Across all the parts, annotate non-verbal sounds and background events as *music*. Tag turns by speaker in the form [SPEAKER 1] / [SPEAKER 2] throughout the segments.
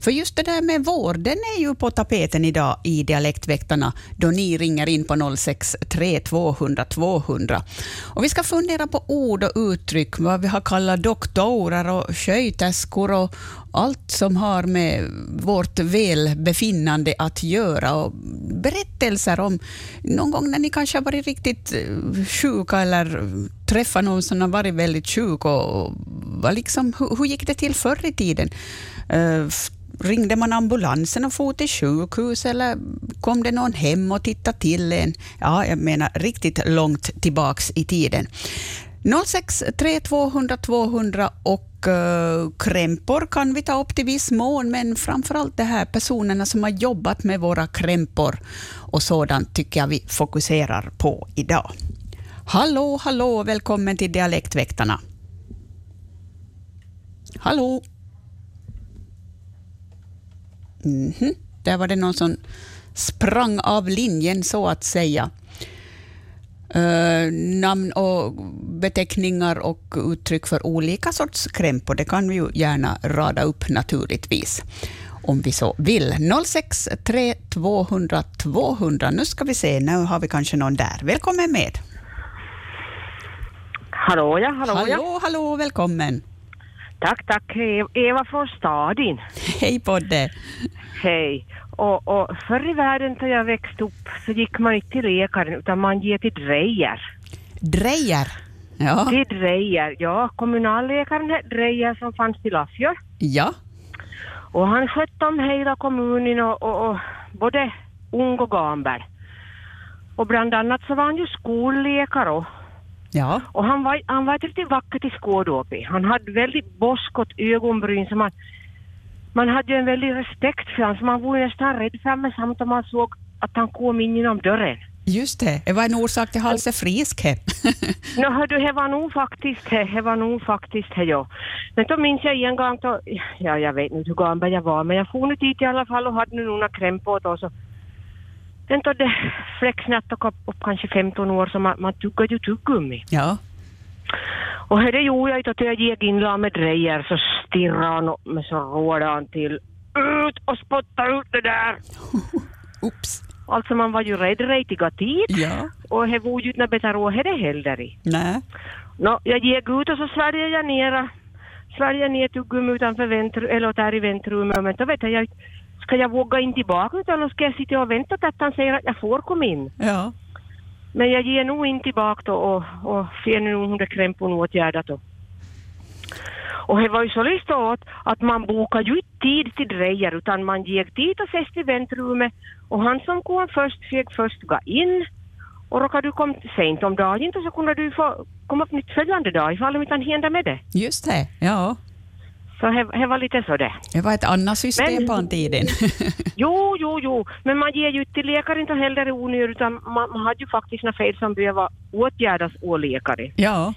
[SPEAKER 1] För just det där med vården är ju på tapeten idag i Dialektväktarna, då ni ringer in på 063 200 200. Och vi ska fundera på ord och uttryck, vad vi har kallat doktorer och sköterskor och allt som har med vårt välbefinnande att göra. Och berättelser om någon gång när ni kanske har varit riktigt eh, sjuka eller träffat någon som har varit väldigt sjuk. Och, och vad liksom, hur, hur gick det till förr i tiden? Eh, f- Ringde man ambulansen och for till sjukhus eller kom det någon hem och tittade till en? Ja, jag menar riktigt långt tillbaks i tiden. 063 200 200 och eh, krämpor kan vi ta upp till viss mån, men framförallt det här personerna som har jobbat med våra krämpor och sådant tycker jag vi fokuserar på idag. Hallå, hallå, välkommen till Dialektväktarna. Hallå? Mhm, Där var det någon som sprang av linjen, så att säga. Eh, namn och beteckningar och uttryck för olika sorts krämpor, det kan vi ju gärna rada upp naturligtvis, om vi så vill. 063 200 200. Nu ska vi se, nu har vi kanske någon där. Välkommen med.
[SPEAKER 2] Hallå ja, hallå, ja.
[SPEAKER 1] hallå, hallå, välkommen.
[SPEAKER 2] Tack, tack. Hej, Eva från Stadin.
[SPEAKER 1] Hej på dig.
[SPEAKER 2] Hej. Och, och förr i världen när jag växte upp så gick man inte till läkaren utan man gick till Drejer.
[SPEAKER 1] Drejer. Ja.
[SPEAKER 2] Till Drejer, ja. Kommunalläkaren hette Drejer som fanns till Lafjör.
[SPEAKER 1] ja.
[SPEAKER 2] Och han skötte om hela kommunen och, och, och både ung och gammal. Och bland annat så var han ju skolläkare och-
[SPEAKER 1] Ja.
[SPEAKER 2] och han var, han var ett riktigt vacker till skådåpi. Han hade väldigt boskott ögonbryn som man... Man hade ju en väldig respekt för honom, så man var ju nästan rädd för honom samt om man såg att han kom in genom dörren.
[SPEAKER 1] Just det, det var en orsak till halsen frisk. här.
[SPEAKER 2] *laughs* Nå hördu, det var nog faktiskt det, det var nog faktiskt det ja. Men då minns jag en gång då, ja jag vet inte hur gammal jag var, men jag for nu dit i alla fall och hade nu några krämpor då så. Den då det fläcksnatt och upp, upp kanske 15 år så man, man tuggade ju tuggummi.
[SPEAKER 1] ja.
[SPEAKER 2] Och här det gjorde jag inte att jag gick in där med drejer så stirrade han upp mig så rådde han till ut och spotta ut det där.
[SPEAKER 1] Oops.
[SPEAKER 2] Alltså man var ju rädd rejtiga tid
[SPEAKER 1] Ja.
[SPEAKER 2] och det var ju inte bättre råd det heller i.
[SPEAKER 1] Nej.
[SPEAKER 2] Nå, jag gick ut och så svärjade jag ner, svärjade ner tuggummi utanför väntru, eller där i väntrummet men då vet jag inte, ska jag våga in tillbaka utan då ska jag sitta och vänta tills han säger att jag får komma in.
[SPEAKER 1] Ja.
[SPEAKER 2] Men jag ger nog inte tillbaka då och, och ser nu under krämpon åtgärdat då. Och det var ju så lyst åt att man bokar ju inte tid till drejer utan man gick dit och ses i väntrummet och han som kom först fick först gå in och råkade du kom sent om dagen inte så kunde du få komma upp nytt följande dag ifall inte han hände med det.
[SPEAKER 1] Just det, ja.
[SPEAKER 2] Så det det var lite så det.
[SPEAKER 1] Det var ett annat system
[SPEAKER 2] Men-
[SPEAKER 1] på den tiden.
[SPEAKER 2] Jo, jo, jo, men man ger ju inte till läkare inte heller i onödan utan man, man hade ju faktiskt några fel som behöver åtgärdas av läkare.
[SPEAKER 1] *laughs* ja.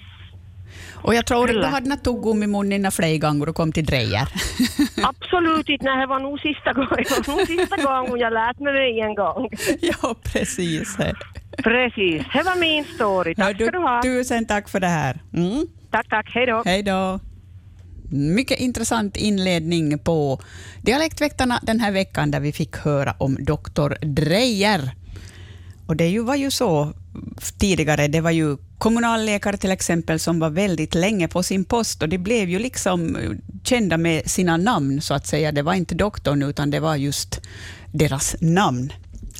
[SPEAKER 1] Och jag tror att du
[SPEAKER 2] Kyllä.
[SPEAKER 1] hade något tuggummi i munnen flera gånger och kom till
[SPEAKER 2] *laughs*
[SPEAKER 1] Drejer.
[SPEAKER 2] Absolut inte, nej, det var nog sista gången, det var nog sista gången jag lät mig det en gång.
[SPEAKER 1] ja, precis. *laughs*
[SPEAKER 2] Precis, det var min story. Tack
[SPEAKER 1] Hör
[SPEAKER 2] ska du ha.
[SPEAKER 1] Tusen tack för det här. Mm.
[SPEAKER 2] Tack, tack, hej då.
[SPEAKER 1] Hej då. Mycket intressant inledning på Dialektväktarna den här veckan, där vi fick höra om doktor Drejer. Och det ju var ju så tidigare, det var ju kommunalläkare till exempel som var väldigt länge på sin post och de blev ju liksom kända med sina namn, så att säga. Det var inte doktorn, utan det var just deras namn.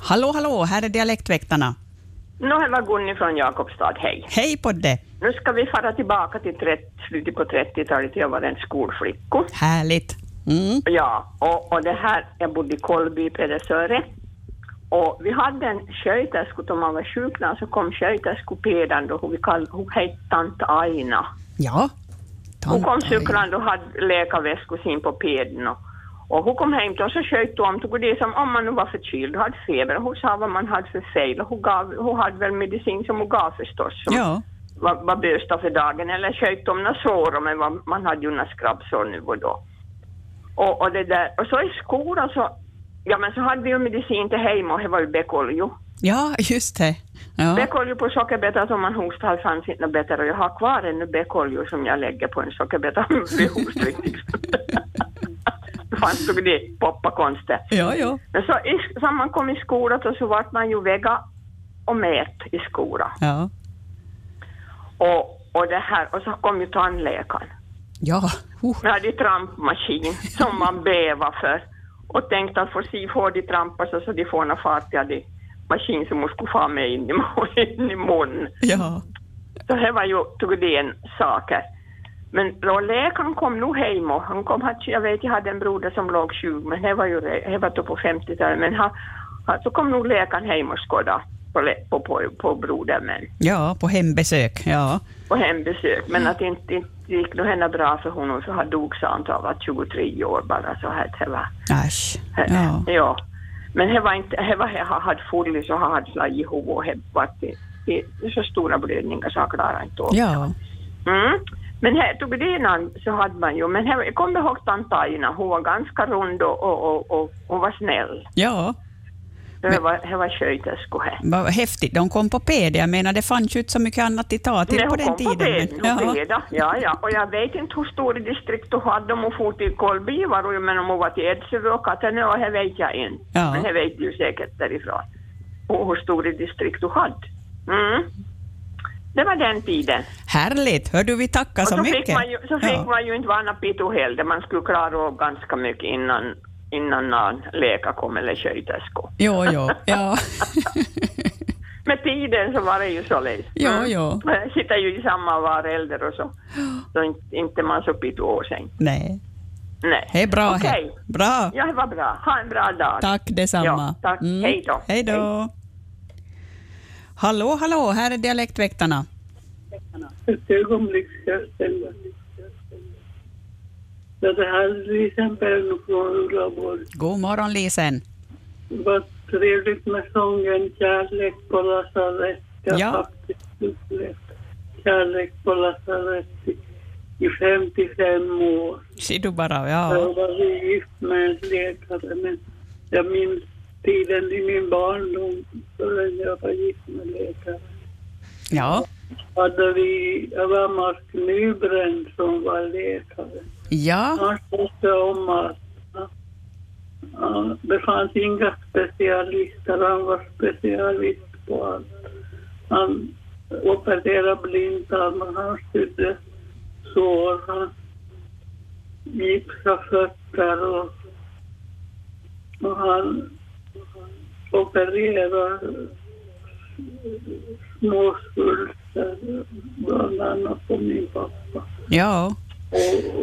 [SPEAKER 1] Hallå, hallå, här är Dialektväktarna.
[SPEAKER 3] Nå, här var Gunny från Jakobstad, hej.
[SPEAKER 1] Hej på det.
[SPEAKER 3] Nu ska vi fara tillbaka till 30, slutet på 30-talet, jag var en skolflicka.
[SPEAKER 1] Härligt. Mm.
[SPEAKER 3] Ja, och, och det här, jag bodde i Kolby, Pedersöre. Och vi hade en sköterska, om man var sjuk när så kom sköterskepedan då, hon, vi kall, hon hette tant Aina.
[SPEAKER 1] Ja.
[SPEAKER 3] Hon kom
[SPEAKER 1] Tant Aina.
[SPEAKER 3] cyklande och hade läkarväskor sin på peden och, och hon kom hem till oss och sköt då om tog det som om man nu var förkyld och hade feber. Hon sa vad man hade för fel och hon, gav, hon hade väl medicin som hon gav förstås. Som,
[SPEAKER 1] Ja.
[SPEAKER 3] var, var bösta för dagen eller sköt om några sår, men var, man hade ju några skrabbsår nu och då. Och, och, det där. och så i skolan så, ja men så hade vi ju medicin till hem och det var ju Bekoljo.
[SPEAKER 1] Ja, just det. Ja.
[SPEAKER 3] Bekoljo på sockerbeta som man hostade det fanns inte något bättre och jag har kvar *laughs* ännu Bekoljo som jag lägger på en sockerbeta om jag blir hostriktig. fanns det de poppakonster.
[SPEAKER 1] *laughs* Ja, ja.
[SPEAKER 3] Men så, i, så man kom i skolan så, så vart man ju väga och mät i skolan.
[SPEAKER 1] Ja.
[SPEAKER 3] Och, och det här, och så kom ju tandläkaren.
[SPEAKER 1] Ja, huh.
[SPEAKER 3] Jag hade trampmaskin som man bävar för och tänkte att för si får de trampa så, så de får någon fart i de maskin som hon skulle få med in i, mu- in i munnen.
[SPEAKER 1] ja.
[SPEAKER 3] Så det var ju Tugdén saker. Men då läkaren kom nog hem och han kom, att- jag vet jag hade en broder som låg 20, men det var ju re- det var då på 50-talet, men han, han, så kom nog läkaren hem och skådade på, lä- på, på, på brodern men,
[SPEAKER 1] ja, på hembesök. Ja.
[SPEAKER 3] på hembesök. Men att det inte, inte gick nog henne bra för honom, så han dog sant av att 23 år bara så här det var.
[SPEAKER 1] Äsch.
[SPEAKER 3] Ja.
[SPEAKER 1] Ja.
[SPEAKER 3] ja. Men det var inte, det var det han hade full så han hade slagit ihop och det var det, det, det så stora blödningar så han klarade inte av.
[SPEAKER 1] Ja.
[SPEAKER 3] Mm. Men här tog det innan så hade man ju, men här, jag kommer ihåg tant Aina, hon var ganska rund och, och, och, och hon var snäll.
[SPEAKER 1] ja.
[SPEAKER 3] Så Det var, det var sköterskor här.
[SPEAKER 1] Vad häftigt. De kom på PD. Jag menar, det fanns ju inte så mycket annat att ta till
[SPEAKER 3] Nej,
[SPEAKER 1] på
[SPEAKER 3] hon
[SPEAKER 1] den
[SPEAKER 3] kom på
[SPEAKER 1] tiden. men-
[SPEAKER 3] beden, hon beda. Ja, ja. Och jag vet inte hur stora distrikt hon hade om hon for till Kolbivar, men om hon var till Edsele och Katanö, och det vet jag inte.
[SPEAKER 1] Ja.
[SPEAKER 3] Men det vet du säkert därifrån. Och hur stora distrikt hon hade. Mm. Det var den tiden.
[SPEAKER 1] Härligt. Hör du, vi tackar
[SPEAKER 3] Och
[SPEAKER 1] så,
[SPEAKER 3] så
[SPEAKER 1] mycket.
[SPEAKER 3] fick, man ju, så fick man ju inte vara någon pito heller, man skulle klara av ganska mycket innan, innan någon läkare kom eller sköterska.
[SPEAKER 1] Jo, jo, ja.
[SPEAKER 3] Med tiden så var det ju så lätt.
[SPEAKER 1] Ja, ja.
[SPEAKER 3] Jag sitter ju i samma och var äldre och så. Så inte, inte man så pito år sen.
[SPEAKER 1] Nej,
[SPEAKER 3] Nej.
[SPEAKER 1] det är bra.
[SPEAKER 3] Okej.
[SPEAKER 1] Bra.
[SPEAKER 3] Ja, det var bra. Ha en bra dag.
[SPEAKER 1] Tack detsamma. Mm.
[SPEAKER 3] Ja, tack. Hej då.
[SPEAKER 1] Hej då. Hallå, hallå, här är Dialektväktarna.
[SPEAKER 4] Ett ögonblick ska jag ställa. Ja, det här är Lisen Bern från Ullaborg.
[SPEAKER 1] God morgon, Lisen.
[SPEAKER 4] Vad trevligt med sången Kärlek på lasarett. Jag
[SPEAKER 1] Ja.
[SPEAKER 4] har faktiskt upplevt kärlek på lasarett i, i 55 år.
[SPEAKER 1] Ser du bara, ja.
[SPEAKER 4] Jag var gift med en läkare, men jag minns tiden i min barndom förrän jag var gift med läkare.
[SPEAKER 1] Ja,
[SPEAKER 4] Hade vi, jag var Mark Nybren som var läkare.
[SPEAKER 1] ja.
[SPEAKER 4] Han tyckte om att ja, det fanns inga specialister. Han var specialist på allt. Han opererade blindtarmen, han sydde sår, han gipsade fötter och, och han opererade små svulster, bland annat på min pappa.
[SPEAKER 1] ja.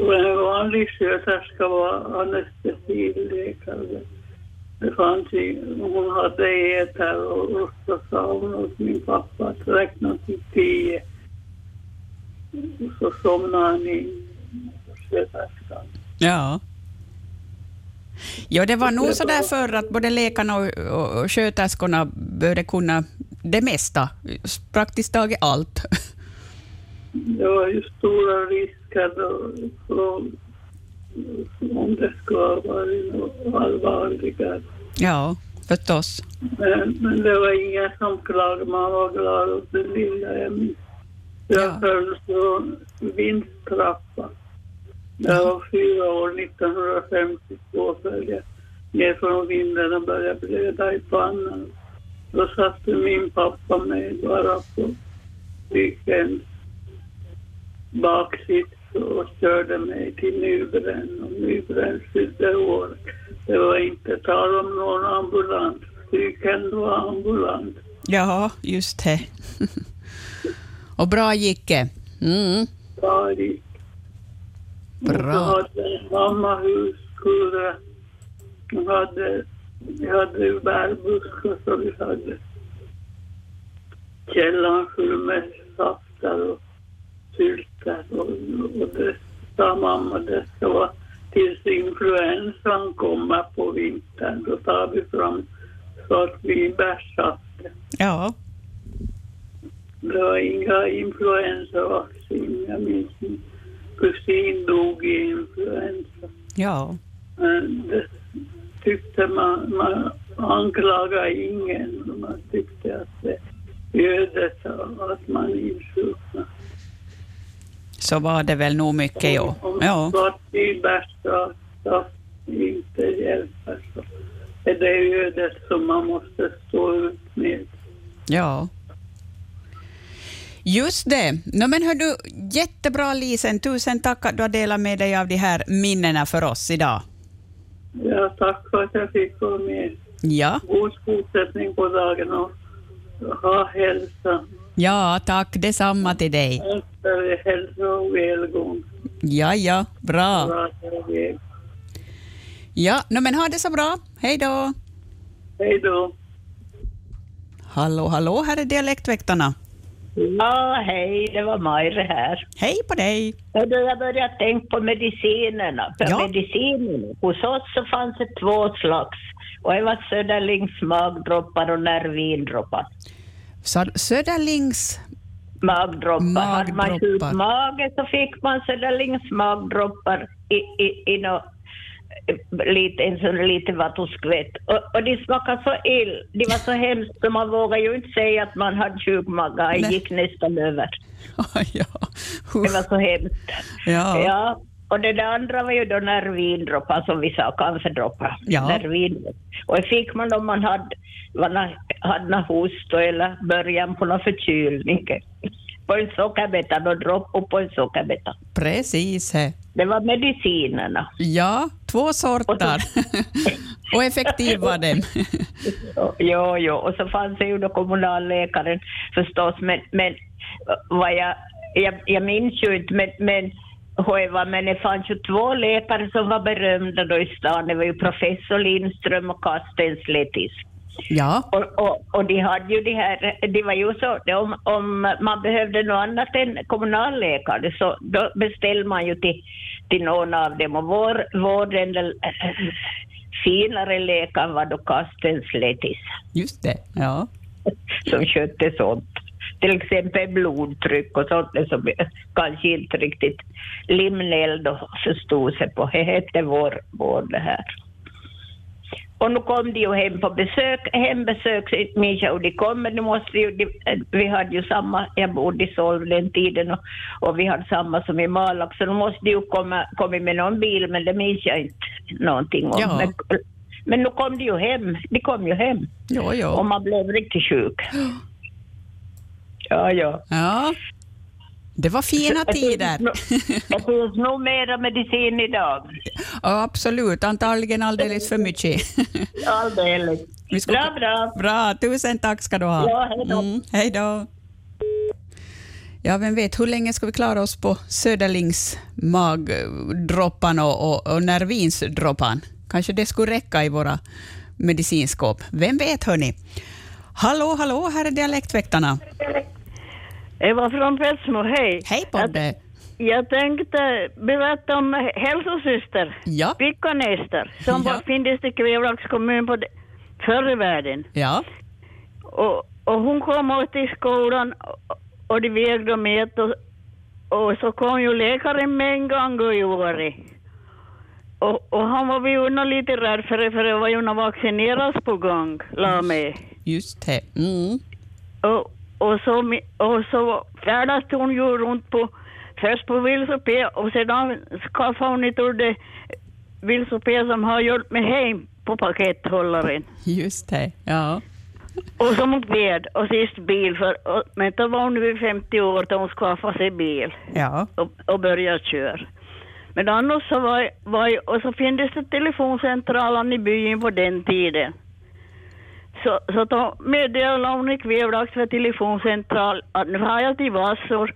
[SPEAKER 4] Och en vanlig sköterska var anestesiläkare. Det fanns ju, hon hade äter och, och så sa hon åt min pappa att räkna till tio. Och Så somnade han in, sköterskan.
[SPEAKER 1] Ja. Ja, det var nog så där förr att både läkarna och, och, och sköterskorna började kunna det mesta, praktiskt taget allt. *laughs*
[SPEAKER 4] Det var ju stora risker då, från, om det skulle ha varit något allvarligare.
[SPEAKER 1] Ja, förstås.
[SPEAKER 4] Men, Eh, men det var ingen som klagade, man var glad åt det lilla jag minns. Jag
[SPEAKER 1] Ja.
[SPEAKER 4] föll från vindtrappan. Jag var fyra år, 1952 föll jag ner från vinden och började blöda i pannan. Då satte min pappa mig bara på ryggen baksits och körde mig till Nybren och Nybren sydde året. Det var inte tal om någon ambulans. Psyken var ambulans.
[SPEAKER 1] Ja, just det. och bra gick det. Mm.
[SPEAKER 4] Ja, det gick. Och
[SPEAKER 1] Bra.
[SPEAKER 4] så hade mamma huskurra. Vi hade, vi hade ju bärbuskar så vi hade källaren full med saftar och syltar. Och, och det sa mamma, det ska vara tills influensan kommer på vintern. Då tar vi fram svartvinbärssaften.
[SPEAKER 1] Ja,
[SPEAKER 4] Det var inga influensavaccin. Jag minns min kusin dog i influensa.
[SPEAKER 1] ja.
[SPEAKER 4] Men det tyckte man, man anklagade ingen. Man tyckte att det ödet att man liksom insjuknade.
[SPEAKER 1] Så var det väl nog mycket, ja.
[SPEAKER 4] Om
[SPEAKER 1] Ja,
[SPEAKER 4] svartvinbärssaft i det är ju det som man måste stå ut med.
[SPEAKER 1] Ja. Just det. No, men hör du, jättebra Lisen, tusen tack att du har delat med dig av de här minnena för oss idag.
[SPEAKER 4] Ja, tack för att jag fick vara med.
[SPEAKER 1] Ja,
[SPEAKER 4] God fortsättning på dagen och ha hälsa.
[SPEAKER 1] ja tack detsamma till dig.
[SPEAKER 4] Önskar er hälsa och välgång.
[SPEAKER 1] Ja, ja, bra.
[SPEAKER 4] Bra att jag är med.
[SPEAKER 1] Ja, no, men ha det så bra. Hej då.
[SPEAKER 4] Hej då.
[SPEAKER 1] Hallå, hallå, här är Dialektväktarna.
[SPEAKER 5] Ja, hej, det var Majre här.
[SPEAKER 1] Hej på dig.
[SPEAKER 5] Och då jag började tänka på medicinerna. För
[SPEAKER 1] Ja.
[SPEAKER 5] medicinerna, hos oss så fanns det två slags. Och det var Söderlings magdroppar och Nervindroppar.
[SPEAKER 1] Sa- Söderlings...
[SPEAKER 5] Magdroppar. Hade man sjuk
[SPEAKER 1] Magdroppar.
[SPEAKER 5] mage så fick man Söderlings magdroppar i, i, i nå- lite, en sån liten vattuskvätt. Och, och de smakade så ill. De var så hemskt så man vågade ju inte säga att man hade sjuk mage. Det
[SPEAKER 1] Nej.
[SPEAKER 5] gick nästan över.
[SPEAKER 1] ja.
[SPEAKER 5] Det var så hemskt.
[SPEAKER 1] Ja.
[SPEAKER 5] ja. Och det där andra var ju då nervindroppar som vi sa, cancerdroppar.
[SPEAKER 1] Ja.
[SPEAKER 5] Nervin. Och det fick man om man hade, var na- hade någon host eller början på någon förkylning. På en sockerbeta, då dropp och på en sockerbeta.
[SPEAKER 1] Precis. he.
[SPEAKER 5] Det var medicinerna.
[SPEAKER 1] Ja, två
[SPEAKER 5] *laughs*
[SPEAKER 1] sorter. Och effektiv var den.
[SPEAKER 5] Jo, jo, och så fanns det ju då kommunalläkaren förstås, men, men vad jag, jag, jag minns ju inte, men, men Hoeva, men det fanns ju två läkare som var berömda då i stan. Det var ju professor Lindström och Carsten Slettis.
[SPEAKER 1] Ja,
[SPEAKER 5] Och, och, och de hade ju det här, det var ju så, det om, om man behövde något annat än kommunalläkare så då beställde man ju till, till någon av dem. Och vår, vår den där, finare läkaren var då Carsten Slettis
[SPEAKER 1] just det. Ja.
[SPEAKER 5] som skötte sånt. Till exempel blodtryck och sånt det som kanske inte riktigt Limnell då förstod sig på. Det hette vår, vår det här. Och nu kom de ju hem på besök, hembesök, minns jag, och de kom, men de måste ju, de, eh, vi hade ju samma, jag bodde i Solv den tiden och, och vi hade samma som i Malax, så de måste ju komma, komma med någon bil, men det minns jag inte någonting om.
[SPEAKER 1] Ja.
[SPEAKER 5] Men, men nu kom de ju hem, de kom ju hem.
[SPEAKER 1] Jo,
[SPEAKER 5] Och
[SPEAKER 1] jo.
[SPEAKER 5] man blev riktigt sjuk. Ja, ja.
[SPEAKER 1] Ja. Det var fina tider.
[SPEAKER 5] Det
[SPEAKER 1] *laughs*
[SPEAKER 5] finns nog mera medicin idag.
[SPEAKER 1] Ja, absolut, antagligen alldeles för mycket. *laughs*
[SPEAKER 5] Alldeles.
[SPEAKER 1] Vi ska-
[SPEAKER 5] Bra, bra.
[SPEAKER 1] Bra, tusen tack ska du ha.
[SPEAKER 5] Ja, hej då.
[SPEAKER 1] Mm, hej då. Ja, vem vet, hur länge ska vi klara oss på Söderlings magdroppan och, och, och Nervinsdroppan? Kanske det skulle räcka i våra medicinskåp. Vem vet, hörni? Hallå, hallå, här är Dialektväktarna.
[SPEAKER 6] Eva från Petsmo, hej.
[SPEAKER 1] Hej på dig.
[SPEAKER 6] Jag tänkte berätta om hälsosyster,
[SPEAKER 1] Ja,
[SPEAKER 6] Pickanäster, som
[SPEAKER 1] Ja.
[SPEAKER 6] ja. finns i Kvävlax kommun på det, förr i världen.
[SPEAKER 1] ja,
[SPEAKER 6] Och, och hon kom åt till skolan och- och de vägde och mätte och, och så kom ju läkaren med en gång och gjorde och, och han var ju nog lite rädd för det, för det var ju något vaccineras på gång, la med.
[SPEAKER 1] just det. Mm.
[SPEAKER 6] Och, och, så, mi- och så färdas hon ju runt på, först på Vilsopé och sedan skaffade hon ett ord Vilsopé som har gjort mig hem på pakethållaren.
[SPEAKER 1] Just det, ja.
[SPEAKER 6] Och så moped och sist bil, för, och, men då var hon vid 50 år då hon skaffade sig bil
[SPEAKER 1] Ja,
[SPEAKER 6] och, och började köra. Men annars så var, var och så finns det telefoncentralen i byn på den tiden. Så, så då meddelade hon i Kvävlax för telefoncentral att nu har jag till Vassor.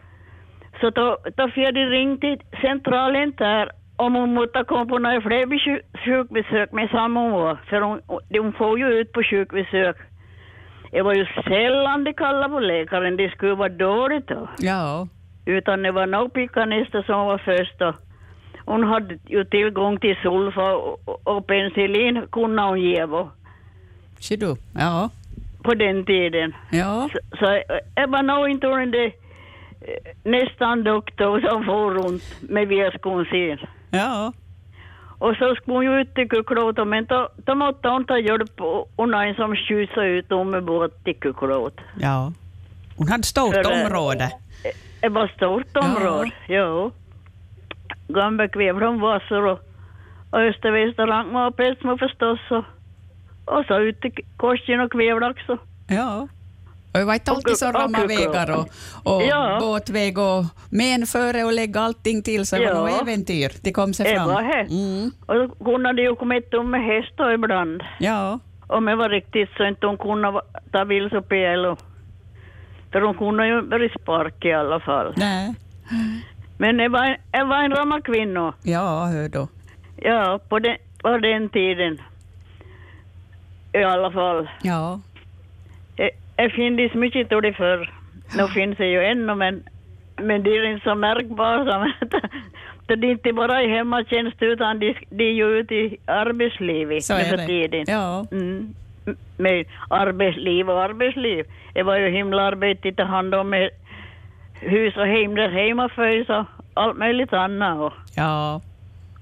[SPEAKER 6] Så då, då får de ringa till centralen där om hon måste komma på några fler besö- sjukbesök med samma år. För hon, de får ju ut på sjukbesök. Det var ju sällan de kallade på läkaren, det skulle vara dåligt då.
[SPEAKER 1] ja,
[SPEAKER 6] Utan det var nog pickanister som var först. Och hon hade ju tillgång till sulfa och, och- och penicillin kunde hon ge och-
[SPEAKER 1] ser du. Ja,
[SPEAKER 6] på den tiden.
[SPEAKER 1] ja.
[SPEAKER 6] Så, så eh, det var nog inte hon det eh, nästan doktor som for runt med vedskonsel.
[SPEAKER 1] Ja,
[SPEAKER 6] Och så skulle hon ju ut till Kuklåt, men då, då måtte hon ta hjälp och, och någon som skjutsade ut hon med båt till Kuklåt.
[SPEAKER 1] ja. Hon hade stort
[SPEAKER 6] För, eh,
[SPEAKER 1] område.
[SPEAKER 6] Det var stort område, jo. Gamla kväv från Vassor och, och Östervästerland var Petsmo förstås och, och så ut till Korsen och Kvävlax. och-
[SPEAKER 1] Ja. Och det var inte alltid så
[SPEAKER 6] Och- och
[SPEAKER 1] ramma
[SPEAKER 6] kuckla.
[SPEAKER 1] vägar och, och
[SPEAKER 6] Ja.
[SPEAKER 1] båtväg och men före och lägga allting till, så det var
[SPEAKER 6] Ja.
[SPEAKER 1] nog äventyr. Det kom sig
[SPEAKER 6] Det
[SPEAKER 1] fram.
[SPEAKER 6] var det.
[SPEAKER 1] Mm.
[SPEAKER 6] Och då kunde de ju komma ett om med hästar ibland.
[SPEAKER 1] Ja.
[SPEAKER 6] Om det var riktigt så inte hon kunde va- ta vilse på el. För hon kunde ju bli spark i alla fall.
[SPEAKER 1] Nej.
[SPEAKER 6] Men det var, det var en ramma kvinna.
[SPEAKER 1] Ja, hör då.
[SPEAKER 6] Ja, på den, på den tiden. I alla fall.
[SPEAKER 1] Ja.
[SPEAKER 6] Det- Eh, Det finns mycket av det förr. Nu finns det ju ännu, men, men det är inte så märkbart *laughs* som att det är inte bara i hemmatjänst utan det det är ju ute i arbetslivet
[SPEAKER 1] Så
[SPEAKER 6] nu
[SPEAKER 1] är
[SPEAKER 6] för
[SPEAKER 1] det.
[SPEAKER 6] tiden.
[SPEAKER 1] Ja.
[SPEAKER 6] Mm. M- Med arbetsliv och arbetsliv. Det var ju himla arbete att ta hand om med hus och hem där hemma för och allt möjligt annat. Och,
[SPEAKER 1] Ja.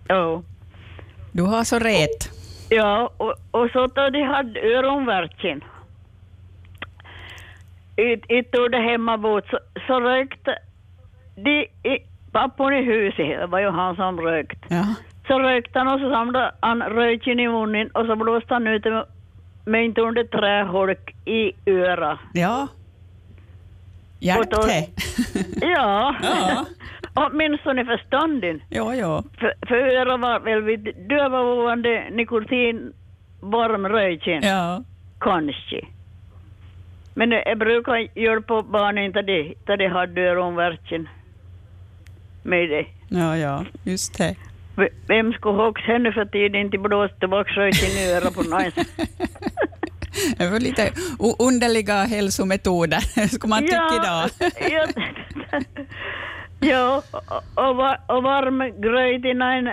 [SPEAKER 6] ja.
[SPEAKER 1] Du har så rätt.
[SPEAKER 6] Ja, och, och så då de hade öronvärken. Ett, ett år där hemma bort så, så rökte de, i, pappan i huset, det var ju han som rökt.
[SPEAKER 1] Ja.
[SPEAKER 6] Så rökte han och så samlade han röken i munnen och så blåste han ut med, med inte under träholk i öra.
[SPEAKER 1] Ja. Hjälpte.
[SPEAKER 6] Ja,
[SPEAKER 1] Ja.
[SPEAKER 6] åtminstone för stunden.
[SPEAKER 1] ja, ja.
[SPEAKER 6] För, för öra var väl vid dövavående nikotin varm röken.
[SPEAKER 1] Ja.
[SPEAKER 6] kanske. Men eh, jag brukar hjälpa barnen när de, när de har öronvärken med det.
[SPEAKER 1] Ja, ja. Just det.
[SPEAKER 6] V- Vem skulle ihåg henne för tiden inte blåst tillbaka röken i örat på
[SPEAKER 1] *laughs*
[SPEAKER 6] någon?
[SPEAKER 1] Det var lite o- underliga hälsometoder, *laughs* skulle man tycka
[SPEAKER 6] *laughs*
[SPEAKER 1] idag.
[SPEAKER 6] ja, ja och, och, va- och varm gröt i någon,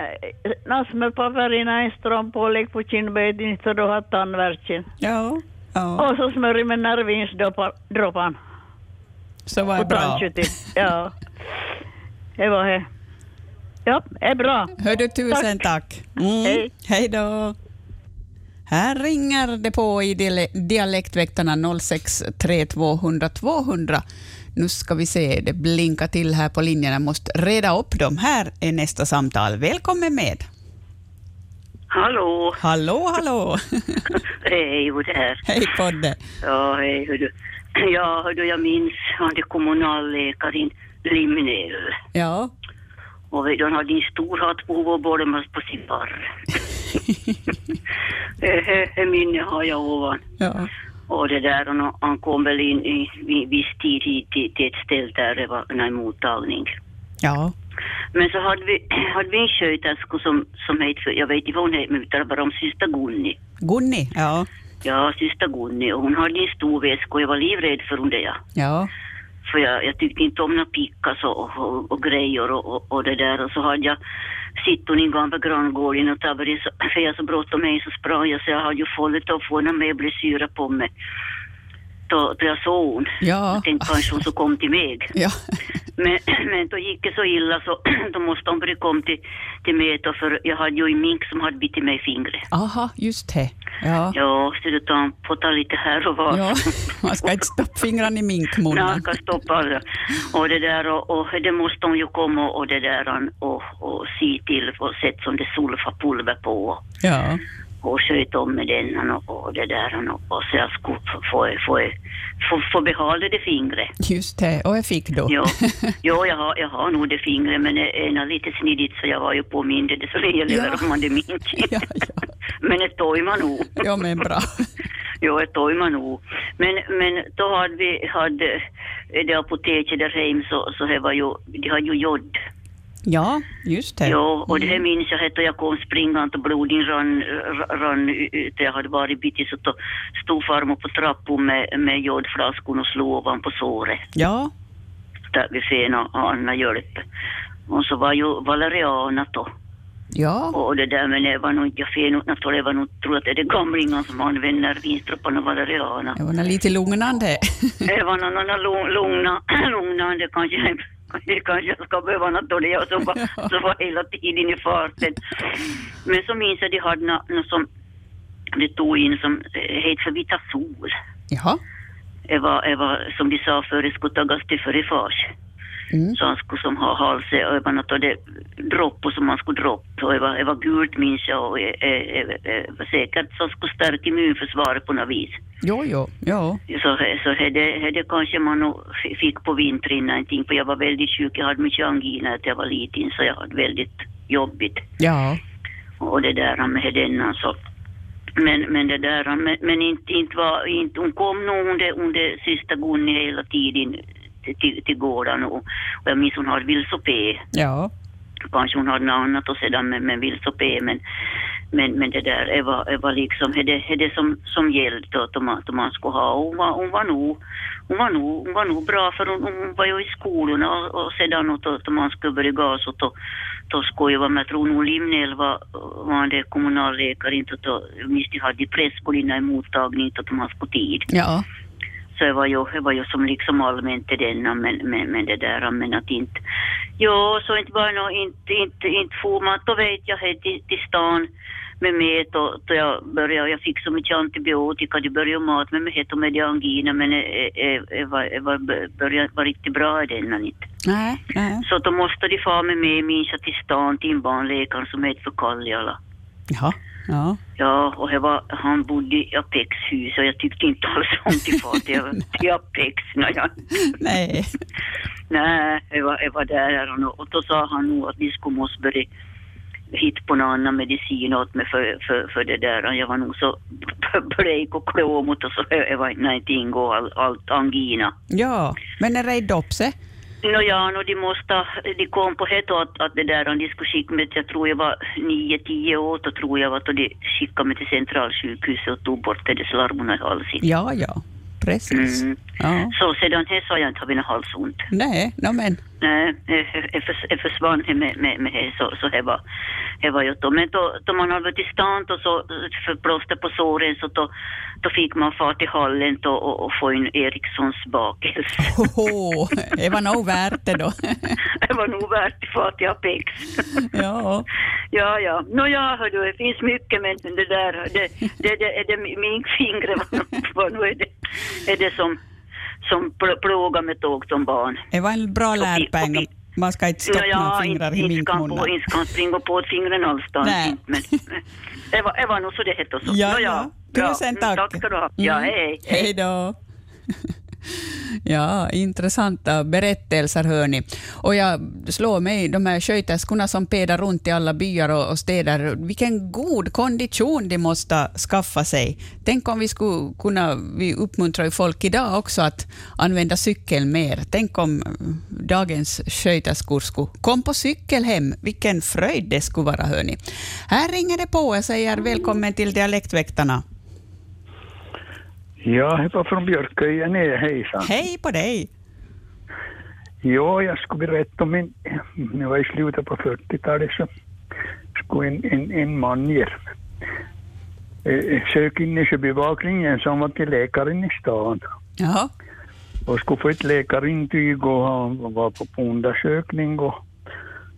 [SPEAKER 6] någon smörpapper i någon strumpa och lägg på kindbeten så du har tandvärken.
[SPEAKER 1] Ja. Ja.
[SPEAKER 6] Och så smörj med nervinsdroppan.
[SPEAKER 1] Så var det
[SPEAKER 6] Och
[SPEAKER 1] bra.
[SPEAKER 6] tandskytte.
[SPEAKER 1] *laughs*
[SPEAKER 6] Ja. Det var det. Ja, det är bra.
[SPEAKER 1] Hör du, tusen tack. Mm.
[SPEAKER 6] Hej.
[SPEAKER 1] Hej då. Här ringer det på i diale- Dialektväktarna 063 200 200. Nu ska vi se, det blinkar till här på linjerna. Måste reda upp dem. Här är nästa samtal. Välkommen med.
[SPEAKER 7] Hallå!
[SPEAKER 1] Hallå, hallå. *laughs*
[SPEAKER 7] Hej, hur det här.
[SPEAKER 1] Hej på dig.
[SPEAKER 7] Ja, hej, hur du. Ja, hur du, jag minns han det kommunalläkaren Limnell.
[SPEAKER 1] Ja.
[SPEAKER 7] Och vet du, han hade en stor hatt på huvudet och båda med på sin
[SPEAKER 1] *laughs*
[SPEAKER 7] barr. Eh, Det minnet har jag ovan.
[SPEAKER 1] ja.
[SPEAKER 7] Och det där, han, han kom väl in i i viss tid hit till, till ett ställe där det var en mottagning.
[SPEAKER 1] Ja.
[SPEAKER 7] Men så hade vi, hade vi en sköterska som, som hette, för- jag vet inte vad hon hette, men vi talar bara om syster Gunni.
[SPEAKER 1] Gunni. Ja.
[SPEAKER 7] Ja, syster Gunni, och hon hade en stor väska och jag var livrädd för hon det. Ja.
[SPEAKER 1] Ja.
[SPEAKER 7] För jag, jag tyckte inte om några pickas och, och, och grejer och, och, och det där. Och så hade jag sitton i gamla granngården och tabbade så, för jag så bråttom med så sprang jag så jag hade ju fallit och fått några möbelsyra på mig. Då, då jag såg hon.
[SPEAKER 1] Ja.
[SPEAKER 7] Jag tänkte kanske hon så kom till mig.
[SPEAKER 1] Ja.
[SPEAKER 7] *laughs* Men, men då gick det så illa så *clears throat* då måste hon bli kom till, till mig då, för jag hade ju en mink som hade bitit mig i fingret.
[SPEAKER 1] Aha, just det. Ja.
[SPEAKER 7] Ja, så då tar han på ta lite här och var.
[SPEAKER 1] ja. *laughs* Man ska inte stoppa fingrarna i minkmunnen.
[SPEAKER 7] Nalkas toppar och det där och, och det måste hon ju komma och det där och, och se till på sätt som det sulfa pulver på
[SPEAKER 1] Ja.
[SPEAKER 7] och sköt om med den och, och det där och, och så jag skulle få, få, få, få behålla det fingret.
[SPEAKER 1] Just det, och jag fick då.
[SPEAKER 7] Ja,
[SPEAKER 1] *laughs*
[SPEAKER 7] ja jag, har, jag har nog det fingret men det är lite snidigt så jag var ju påmind det så länge jag lever
[SPEAKER 1] Ja.
[SPEAKER 7] om man det minns.
[SPEAKER 1] *laughs* Ja, ja.
[SPEAKER 7] Men det tog man nog.
[SPEAKER 1] ja, men
[SPEAKER 7] *laughs*
[SPEAKER 1] bra.
[SPEAKER 7] Ja, det tar ju man nog. Men, men då hade vi hade det apoteket där hem så, så det var ju, de hade ju jod.
[SPEAKER 1] Ja, Mm. just det.
[SPEAKER 7] Ja, och det här minns jag hette och jag kom springande och blodet rann, ra- rann ut. Jag hade varit bitis och då stod farmor på trappan med, med jodflaskan och slog ovanpå såret.
[SPEAKER 1] Ja,
[SPEAKER 7] Där vi fick och Anna hjälp. Och så var ju valeriana då.
[SPEAKER 1] ja,
[SPEAKER 7] Och det där men det var nog, jag fick nog, jag var nog, tror att det är gamlingar som använder vinstropparna och valeriana.
[SPEAKER 1] *laughs* det var nog lite lugnande. *laughs*
[SPEAKER 7] Det var någon annan lugn- lugna, *clears throat* lugnande kanske. Det kanske ska behöva något då det jag som var,
[SPEAKER 1] Ja.
[SPEAKER 7] som var hela tiden i farten. Men så minns jag de hade nå- något som de tog in som eh, hette för Vitasol.
[SPEAKER 1] Jaha,
[SPEAKER 7] Det var, det var som de sa före skulle tagas till före fars.
[SPEAKER 1] mm.
[SPEAKER 7] Så han skulle som ha halsen och det var något av det droppor som man skulle droppa. Och det var, det var gult minns jag och eh, det, det, det var eh, säkert som skulle stärka immunförsvaret på något vis.
[SPEAKER 1] Jo, jo, jo.
[SPEAKER 7] Så, så hade, hade kanske man nog f- fick på vintern någonting, för jag var väldigt sjuk. Jag hade mycket angina när jag var liten, så jag hade väldigt jobbigt.
[SPEAKER 1] Ja.
[SPEAKER 7] Och det där med den alltså. Men, men det där, men, men inte, inte var, inte, hon kom nog under, under sista gången hela tiden till, till gården och, och jag minns hon hade vilsopé.
[SPEAKER 1] Ja.
[SPEAKER 7] Kanske hon hade något annat och sedan med, med vilsopé men, men, men det där, det var, det var liksom det, det det som, som gällde då, att man, att man skulle ha. Och Hon var, hon var nog, hon var nog, hon var nog bra för hon, hon var ju i skolorna och, och sedan åt att man skulle börja gas och då, då skulle jag vara med, jag tror nog Limnell var, var det kommunalläkare, inte att då, minst de hade press på dina mottagning, inte att man skulle tid.
[SPEAKER 1] Ja.
[SPEAKER 7] Så det var ju, det var ju som liksom allmänt till denna, men, men, men det där, men att inte... Ja, så inte var nog, inte, inte, inte for man, då vet jag här till, till stan med mig, då, då jag började, jag fick så mycket antibiotika, de började mat med mig, het och med de angina, men det var, det var, började, var riktigt bra i denna inte.
[SPEAKER 1] Nej,
[SPEAKER 5] *laughs*
[SPEAKER 1] nej.
[SPEAKER 7] Så då måste de få med mig, minns jag, till stan, till en barnläkare som heter för Kalliala.
[SPEAKER 1] Ja. Ja.
[SPEAKER 7] Ja, och jag var, han bodde i Apex-hus och jag tyckte inte alls om till fart. Jag var i Apex. när jag,
[SPEAKER 1] Nej.
[SPEAKER 7] nej, jag var, jag var där och, och då sa han nog att vi skulle måste börja hitta på någon annan medicin åt mig för, för, för det där. Jag var nog så *laughs* blek och klam och så jag, jag var nej, inte ingå all- allt angina.
[SPEAKER 1] Ja. Men är det i dopse?
[SPEAKER 7] Nå ja, nå de måste, de kom på helt att, att det där, om de skulle skicka mig, till- jag tror jag var nio tio år, då tror jag att de skickade mig till centralsjukhuset och tog bort det slarvorna i halsen.
[SPEAKER 1] Ja, ja. Precis.
[SPEAKER 7] Mm.
[SPEAKER 1] Ja.
[SPEAKER 7] Så sedan här sa jag inte har vi något halsont.
[SPEAKER 1] Nej, no, men.
[SPEAKER 7] Nej, jag- jag- jag förs- jag försvann här med, med, med här, så, så här var, här var jag då. Men då, då man hade varit i stan och så för plåster på såren så då, då fick man fart till hallen då, och, och få en Erikssons bakelse. *laughs*
[SPEAKER 1] Hoho, det var nog värt det då. *laughs*
[SPEAKER 7] det var nog värt att fart till Apex.
[SPEAKER 1] ja.
[SPEAKER 7] Ja, ja. Nå ja, hördu, det finns mycket men det där, det, det, det, är det min fingre *laughs* var, var nog är det, är det som, som pl- plågar mig tåg som barn.
[SPEAKER 1] Det var en bra lärpeng. Man ska inte stoppa
[SPEAKER 7] Nå
[SPEAKER 1] några
[SPEAKER 7] ja,
[SPEAKER 1] fingrar
[SPEAKER 7] inte,
[SPEAKER 1] i
[SPEAKER 7] inte kan
[SPEAKER 1] minkmunnen.
[SPEAKER 7] på, inte kan springa på åt fingren allstans.
[SPEAKER 1] Nej.
[SPEAKER 7] inte, Men *laughs* det var, det var nog så det hette. och Så.
[SPEAKER 1] Ja,
[SPEAKER 7] Nå
[SPEAKER 1] ja.
[SPEAKER 7] bra.
[SPEAKER 1] Tusen
[SPEAKER 7] Mm,
[SPEAKER 1] tack.
[SPEAKER 7] Tack ska du ha. Ja,
[SPEAKER 1] Mm.
[SPEAKER 7] hej.
[SPEAKER 1] Hej då. Ja, intressanta berättelser hör ni. Och jag slår mig, de här sköterskorna som pedar runt i alla byar och, och städer, vilken god kondition de måste skaffa sig. Tänk om vi skulle kunna, vi uppmuntrar ju folk idag också att använda cykeln mer. Tänk om dagens sköterskor skulle kom på cykel hem, vilken fröjd det skulle vara hör ni. Här ringer det på, jag säger välkommen till Dialektväktarna.
[SPEAKER 8] Ja, det var från Björköja ner, hejsan.
[SPEAKER 1] Hej på dig!
[SPEAKER 8] Ja, jag skulle berätta om en, det var i slutet på 40-talet så skulle en, en, en man ner. Eh, sök in i sjöbevakningen som var till läkaren i stan
[SPEAKER 1] Jaha.
[SPEAKER 8] och skulle få ett läkarintyg och han var på på undersökning och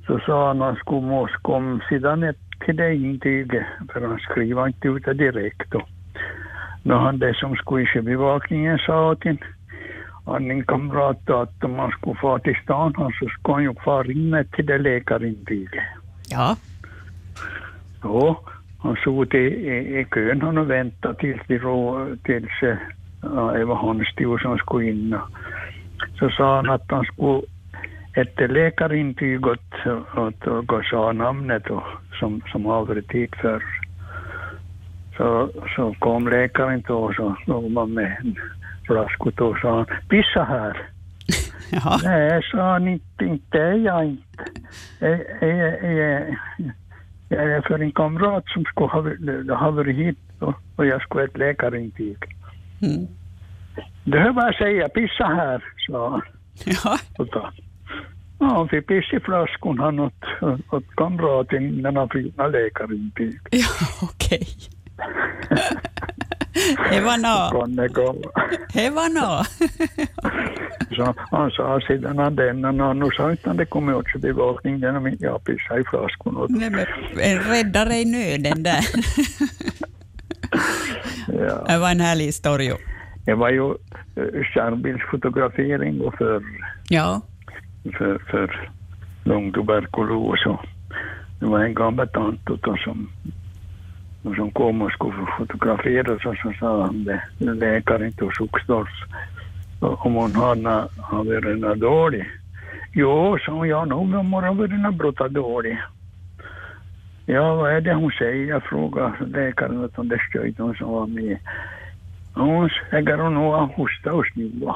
[SPEAKER 8] så sa han att han skulle måste komma sedan ett till det intyget för han skrev inte ut det direkt. Och när han det som skulle i sjöbevakningen sa åt en annan kamrat då att om han skulle fara till stan han så skulle han ju fara in till det läkarintyget.
[SPEAKER 1] Ja.
[SPEAKER 8] Ja, han såg i, i, i kön han och väntade tills, de rå, tills eh, ja, det var hans tur som skulle in. och Så sa han att han skulle ett läkarintyg åt, åt, åt, och sa namnet och, som, som har varit hit för. Så, så kom läkaren då och så låg man med en flaska då och sa han, pissa här.
[SPEAKER 1] Jaha.
[SPEAKER 8] Nej, sa han inte, inte är jag inte. Jag, jag, jag, jag är för en kamrat som skulle ha, ha varit hit och, och jag skulle ha ett läkarintyg.
[SPEAKER 1] Mm.
[SPEAKER 8] Det hör bara säga, pissa här, sa han.
[SPEAKER 1] Ja.
[SPEAKER 8] Och då- Ja, han fick piss i flaskan han åt, åt kamraten innan han fick något läkarintyg.
[SPEAKER 1] ja, okej. Det var nå.
[SPEAKER 8] Kan det gå?
[SPEAKER 1] Det var nå.
[SPEAKER 8] Så han sa sedan han den, han har nog sagt att det kommer åt sig bevakning genom att jag pissade i flaskan åt
[SPEAKER 1] Nej, men eh, En räddare i nöden där.
[SPEAKER 8] ja.
[SPEAKER 1] Det var en härlig historia.
[SPEAKER 8] Det var ju eh, skärmbildsfotografering och för,
[SPEAKER 1] Ja.
[SPEAKER 8] för, för lungtuberkulos. Och det var en gammal tant åt oss som, och som kom och skulle fotograferas och så sa han det, läkaren till Suxdorf, om hon hade, hade varit nå dålig. Jo, sa hon, ja nog om hon har varit nå brutta dålig. Ja, vad är det hon säger? Jag frågade läkaren åt hon det stöd hon som var med. Hon säger hon nog har hosta och snua.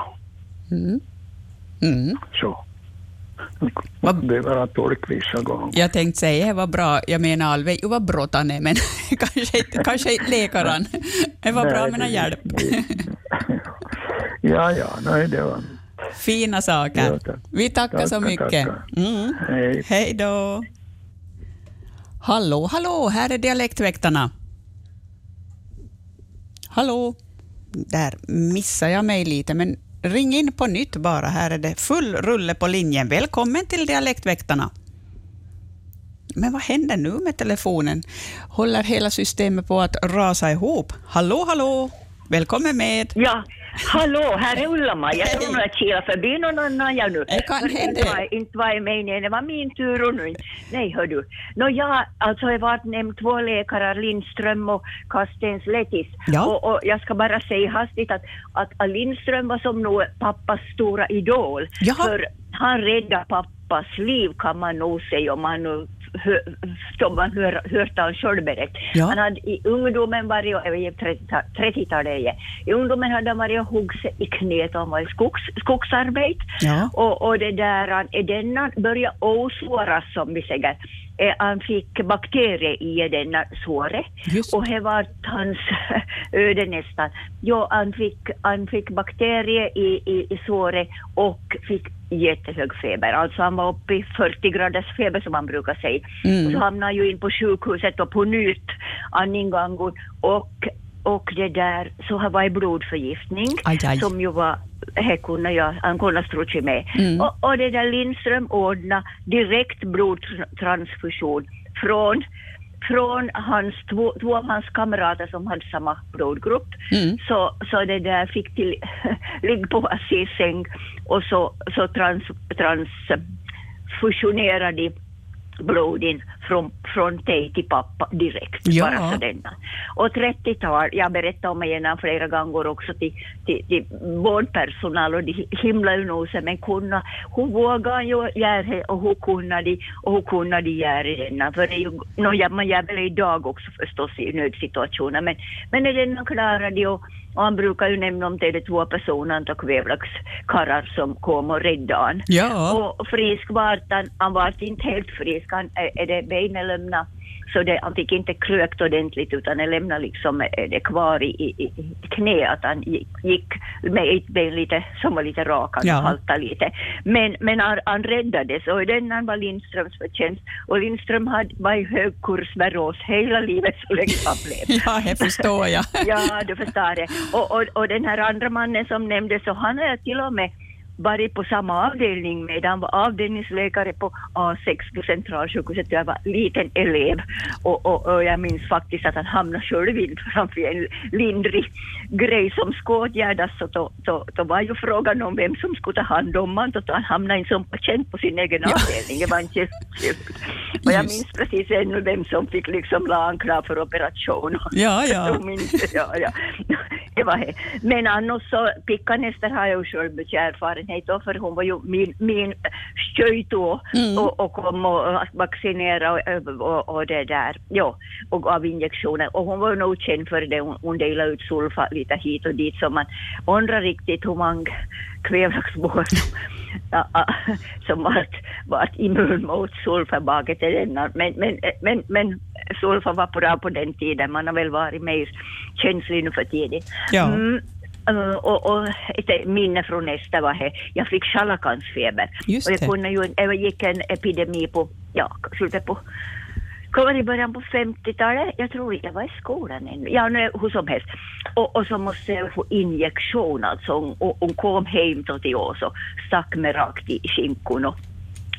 [SPEAKER 1] Mm. Mm.
[SPEAKER 8] Så. Det är bara tolk vissa gånger.
[SPEAKER 1] Jag tänkte säga, det var bra, jag menar Alve, jo vad brått han är, men *laughs* kanske, inte- kanske inte läkaren. Det var bra
[SPEAKER 8] Nej,
[SPEAKER 1] med någon
[SPEAKER 8] det-
[SPEAKER 1] hjälp.
[SPEAKER 8] Ja, ja, nej det var...
[SPEAKER 1] Fina saker.
[SPEAKER 8] Ja, tack.
[SPEAKER 1] Vi tackar så
[SPEAKER 8] Tackar,
[SPEAKER 1] mycket.
[SPEAKER 8] tackar.
[SPEAKER 1] Mm.
[SPEAKER 8] Hej.
[SPEAKER 1] Hej då. Hallå, hallå, här är Dialektväktarna. Hallå. Där missade jag mig lite, men ring in på nytt bara. Här är det full rulle på linjen. Välkommen till Dialektväktarna. Men vad händer nu med telefonen? Håller hela systemet på att rasa ihop? Hallå, hallå! Välkommen med!
[SPEAKER 5] Ja, hallå, här är Ulla-Maja. Jag
[SPEAKER 1] Hej.
[SPEAKER 5] tror hon har kilat förbi någon annan jag nu.
[SPEAKER 1] Det kan
[SPEAKER 5] För
[SPEAKER 1] hända.
[SPEAKER 5] Inte var, inte var jag meningen, det var min tur och nu. Nej, hör du. Nå jag, alltså jag var nämnd två läkare, Lindström och Kastens Letis.
[SPEAKER 1] Ja.
[SPEAKER 5] Och, och jag ska bara säga hastigt att, att Lindström var som nog pappas stora idol.
[SPEAKER 1] Jaha.
[SPEAKER 5] För han räddade pappas liv kan man nog säga om man nu hör, som man hör, hört han själv berätta.
[SPEAKER 1] Ja.
[SPEAKER 5] Han hade i ungdomen varit, och- i 30-ta- 30-talet igen, i ungdomen hade han varit och huggit sig i knät och han var i skogs, skogsarbete.
[SPEAKER 1] Ja.
[SPEAKER 5] Och, och det där, han, i denna började åsåras som vi säger. Eh, han fick bakterier i denna såret
[SPEAKER 1] Just.
[SPEAKER 5] och det var hans *laughs* öde nästan. Jo, han fick, han fick bakterier i, i, i såret och fick jättehög feber. Alltså han var uppe i 40 graders feber som man brukar säga.
[SPEAKER 1] Mm.
[SPEAKER 5] Och så hamnade han ju in på sjukhuset och på nytt andningsgången och, och det där, så han var i blodförgiftning
[SPEAKER 1] Aj, aj.
[SPEAKER 5] som ju var här kunde jag, han kunde strutsa med.
[SPEAKER 1] Mm.
[SPEAKER 5] Och, och det där Lindström ordnade direkt blodtransfusion från, från hans, två, två av hans kamrater som hade samma blodgrupp.
[SPEAKER 1] Mm.
[SPEAKER 5] Så, så det där fick till, *laughs* ligg på Assis säng och så, så trans, transfusionerade blodin från, från dig till pappa direkt.
[SPEAKER 1] Ja.
[SPEAKER 5] Bara så denna. Och 30-tal, jag berättade om igenom flera gånger också till, till, till vårdpersonal och de himlade ju nosen men kunna, hon vågade ju göra det och hon kunde de, och hon kunde de göra denna. För det är ju, no, ja, man gör väl det idag också förstås i nödsituationer men, men när denna klarade de och, och han brukar ju nämna om det, det två personer, antal kvävlaxkarrar som kom och räddade han.
[SPEAKER 1] Ja.
[SPEAKER 5] Och frisk var han, han var alltså inte helt frisk, han, är- är det benen lämna så det, han fick inte krökt ordentligt utan det lämnade liksom eh, det kvar i, i, i knä att han gick, gick med ett ben lite, som var lite rak, han
[SPEAKER 1] Ja.
[SPEAKER 5] haltade lite. Men, men han, han räddades och den han var Lindströms förtjänst och Lindström hade, var i högkurs med Rås hela livet så länge
[SPEAKER 1] *laughs*
[SPEAKER 5] han blev.
[SPEAKER 1] Ja, det förstår jag.
[SPEAKER 5] *laughs* Ja, du förstår det. Och, och, och den här andra mannen som nämndes, så han har till och med varit på samma avdelning med. Han var avdelningsläkare på A6 på Centralsjukhuset. Jag var liten elev och, och, och jag minns faktiskt att han hamnade själv in framför en lindrig grej som skulle åtgärdas. Så då, då, då var ju frågan om vem som skulle ta hand om honom. Så då Han hamnade in som patient på sin egen avdelning. Det var inte just- Och jag
[SPEAKER 1] Just.
[SPEAKER 5] minns precis ännu vem som fick liksom la han klar för operation.
[SPEAKER 1] Ja, ja.
[SPEAKER 9] *laughs*
[SPEAKER 5] Jag minns det, ja, ja. *laughs* Det var det. Men annars så, Pickan Ester har jag ju själv mycket erfarenhet av, för hon var ju min, min tjej då
[SPEAKER 1] Mm.
[SPEAKER 5] och, och kom och att vaccinera och, och, och det där, ja, och gav injektioner. Och hon var ju nog känd för det, hon, hon delade ut sulfa lite hit och dit, så man undrar riktigt hur många kvävlaxbås som, ja, ja, som vart, vart immun mot sulfabaket. Men, men, men, men sulfa var bra på den tiden, man har väl varit mer känslig nu för tiden.
[SPEAKER 1] Ja.
[SPEAKER 5] Mm, eh, och, och ett minne från nästa var här. Jag fick scharlakansfeber.
[SPEAKER 1] Just
[SPEAKER 5] och jag
[SPEAKER 1] det.
[SPEAKER 5] kunde ju, jag gick en epidemi på, ja, slutet på Kommer i början på 50-talet, jag tror jag var i skolan ännu, ja nu, hur som helst. Och, och så måste jag få injektion alltså, hon, hon kom hem då till oss och stack mig rakt i skinkorna.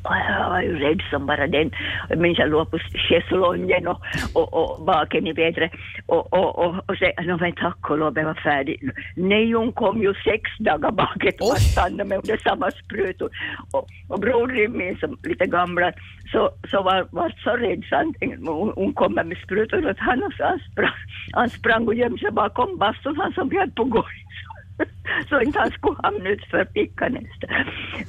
[SPEAKER 5] Och jag var ju rädd som bara den. Jag minns jag låg på schäslongen och, och, och baken i vädret. Och, och, och, och sen, no, men tack och lov, jag var färdig. Nej, hon kom ju sex dagar bakåt och stannade med under samma sprutor. Och, och brodern min, som lite gamla, så, så var, var så rädd så han, tänkte, hon, hon kom med sprutor att han, han, sprang, han sprang och gömde sig bakom bastun, han som bjöd på *laughs* golvet. så inte han skulle hamna utför fickan nästa.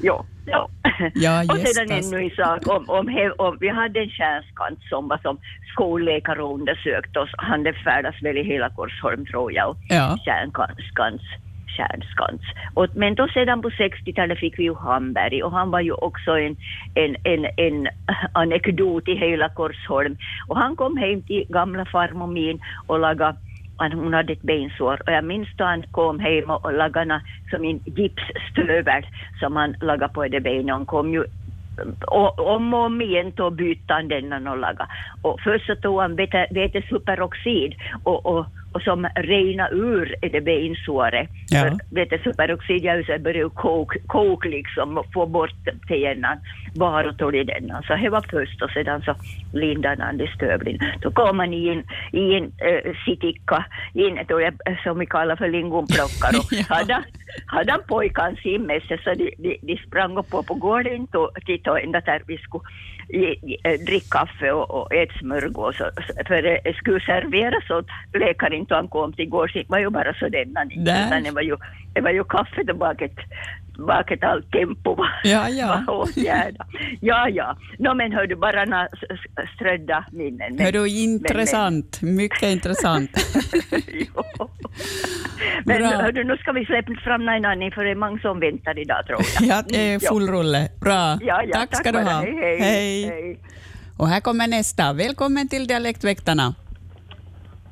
[SPEAKER 5] Ja, ja.
[SPEAKER 1] Ja,
[SPEAKER 5] och
[SPEAKER 1] just
[SPEAKER 5] sedan
[SPEAKER 1] det.
[SPEAKER 5] ännu en sak om, om, he- om vi hade en kärlskant som var som skolläkare och undersökte oss. Han det färdas väl i hela Korsholm tror jag.
[SPEAKER 1] Ja.
[SPEAKER 5] Kärnskans, kärnskans. Och, men då sedan på 60-talet fick vi ju Hamberg och han var ju också en, en, en, en anekdot i hela Korsholm. Och han kom hem till gamla farmor min och lagade han- hon hade ett bensår och jag minns då han kom hem och och lagade na- som en gipsstövel som han lagade på det benet. Han kom ju och, om och om igen då bytte han den och lagade. Och först så tog han vete- vetesuperoxid och, och, och som rena ur det bensåret.
[SPEAKER 1] Ja.
[SPEAKER 5] För vetesuperoxid gör ju så att det börjar ju kok, kok liksom och få bort tenan. Bara tog i den. Så det var först och sedan så lindade han det stövlin. Då kom han i en, i en äh, sitikka, i en, då jag, som vi kallar för lingonplockare.
[SPEAKER 1] Ja.
[SPEAKER 5] ja. hade, han- hade han pojkan sin med sig så de, de, de sprang upp på gården inte och tittade ända där vi skulle ge, ge, eh, dricka kaffe och, och äta smörgås. Och, så- för det skulle serveras åt läkaren då han kom till gårds. Det var ju bara så den han
[SPEAKER 1] Där.
[SPEAKER 5] utan det var ju, det var ju kaffet och baket, baket allt tempo var,
[SPEAKER 1] Ja,
[SPEAKER 5] *laughs*
[SPEAKER 1] ja.
[SPEAKER 5] var åtgärdat. Ja, ja. Nå men hör du, bara några s- s- strödda minnen. Men,
[SPEAKER 1] Hördu, intressant. Mycket intressant.
[SPEAKER 5] jo. men
[SPEAKER 1] Bra.
[SPEAKER 5] hör du, nu ska vi släppa fram någon annan för det är många som väntar idag tror
[SPEAKER 1] *laughs*
[SPEAKER 5] jag. Mm,
[SPEAKER 1] Ja, det är full rulle. Bra.
[SPEAKER 5] Ja, ja,
[SPEAKER 1] tack ska du
[SPEAKER 5] bara.
[SPEAKER 1] ha.
[SPEAKER 5] Hej, hej. hej.
[SPEAKER 1] Och här kommer nästa. Välkommen till Dialektväktarna.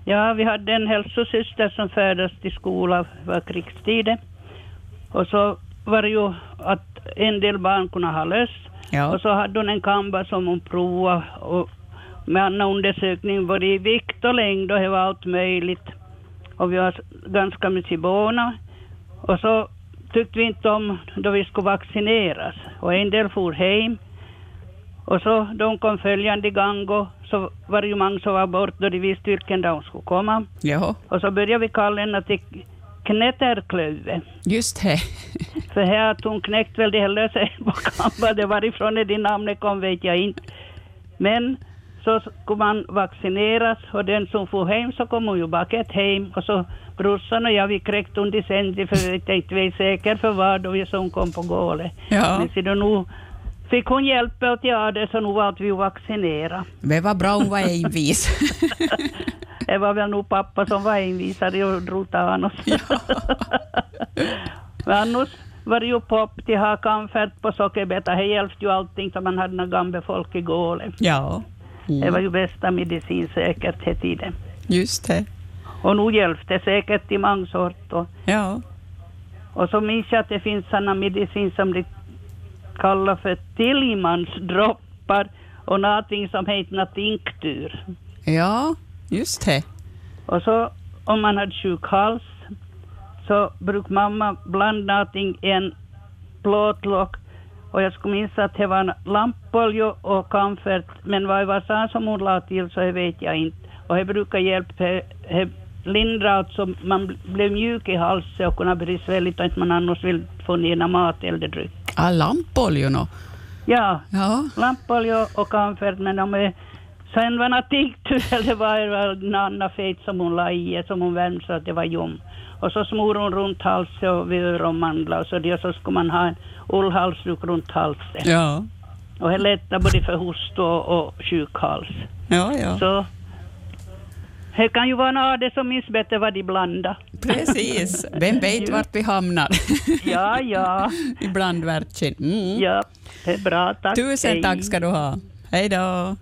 [SPEAKER 10] Ja, vi hade en hälsosyster som färdes till skolan för krigstiden. Och så var det ju att en del barn kunde ha löss.
[SPEAKER 1] Ja.
[SPEAKER 10] Och så hade hon en kamba som hon provade och med annan undersökning både i vikt och längd och det var allt möjligt. Och vi var ganska mycket båna. Och så tyckte vi inte om då vi skulle vaccineras. Och en del for hem. Och så de kom följande gång och så var det ju många som var bort då de visste vilken dag de skulle komma.
[SPEAKER 1] Ja,
[SPEAKER 10] Och så började vi kalla henne till knätterklöve.
[SPEAKER 1] just det.
[SPEAKER 10] För här att hon knäckt väl det här *laughs* lösa på kampan. Det varifrån det namnet kom vet jag inte. Men så skulle man vaccineras och den som får hem så kom hon ju bakåt hem och så brorsan och jag vi kräkte under i sänder för vi tänkte vi är säkra för vad och vi så hon kom på gålet.
[SPEAKER 1] Ja.
[SPEAKER 10] Men sedan nu fick hon hjälp åt göra det så nu vart vi ju vaccinera.
[SPEAKER 1] Men vad bra hon var envis.
[SPEAKER 10] Det var väl nog pappa som var envisare och drog an oss. *laughs* Men annars var det ju pop till ha kamfärt på sockerbeta. Det hjälpte ju allting som man hade när gamla folk i gålen.
[SPEAKER 1] ja,
[SPEAKER 10] Det var ju bästa medicin säkert hela tiden.
[SPEAKER 1] just det.
[SPEAKER 10] Och nu hjälpte det säkert i många sort. Och,
[SPEAKER 1] Ja,
[SPEAKER 10] och så minns jag att det finns sådana medicin som de kallar för Tillmansdroppar och någonting som heter något inktur.
[SPEAKER 1] ja just det.
[SPEAKER 10] Och så om man hade sjuk hals så brukade mamma blanda någonting i en plåtlock. Och jag skulle minnas att det var en lampolja och kamfert. Men vad det var sa som hon la till så det vet jag inte. Och det brukar hjälpa. Det- Det lindrar så man bl- blev mjuk i halsen och kunde bli svälligt och inte man annars vill få ner någon mat eller dryck.
[SPEAKER 1] Ah, lampoljon och-
[SPEAKER 10] Ja,
[SPEAKER 1] Ja,
[SPEAKER 10] lampolja och kamfert men de är Sen var det tinktur *laughs* eller vad det var en annan fet som hon la i som hon värmde så att det var ljum. Och så smor hon runt halsen och vid öronmandlar och så, det, och så skulle man ha en ullhalsduk runt halsen.
[SPEAKER 1] ja,
[SPEAKER 10] Och det lättar både för hosta och, och sjukhals.
[SPEAKER 1] ja, ja.
[SPEAKER 10] Så det kan ju vara några av det som minns bättre vad de blandar. *laughs*
[SPEAKER 1] precis. Vem vet vart vi hamnar?
[SPEAKER 10] Ja, ja,
[SPEAKER 1] *laughs* Ibland värtsin. Mm.
[SPEAKER 10] ja, det är bra, tack.
[SPEAKER 1] Tusen
[SPEAKER 10] hej.
[SPEAKER 1] tack ska du ha. Hej då.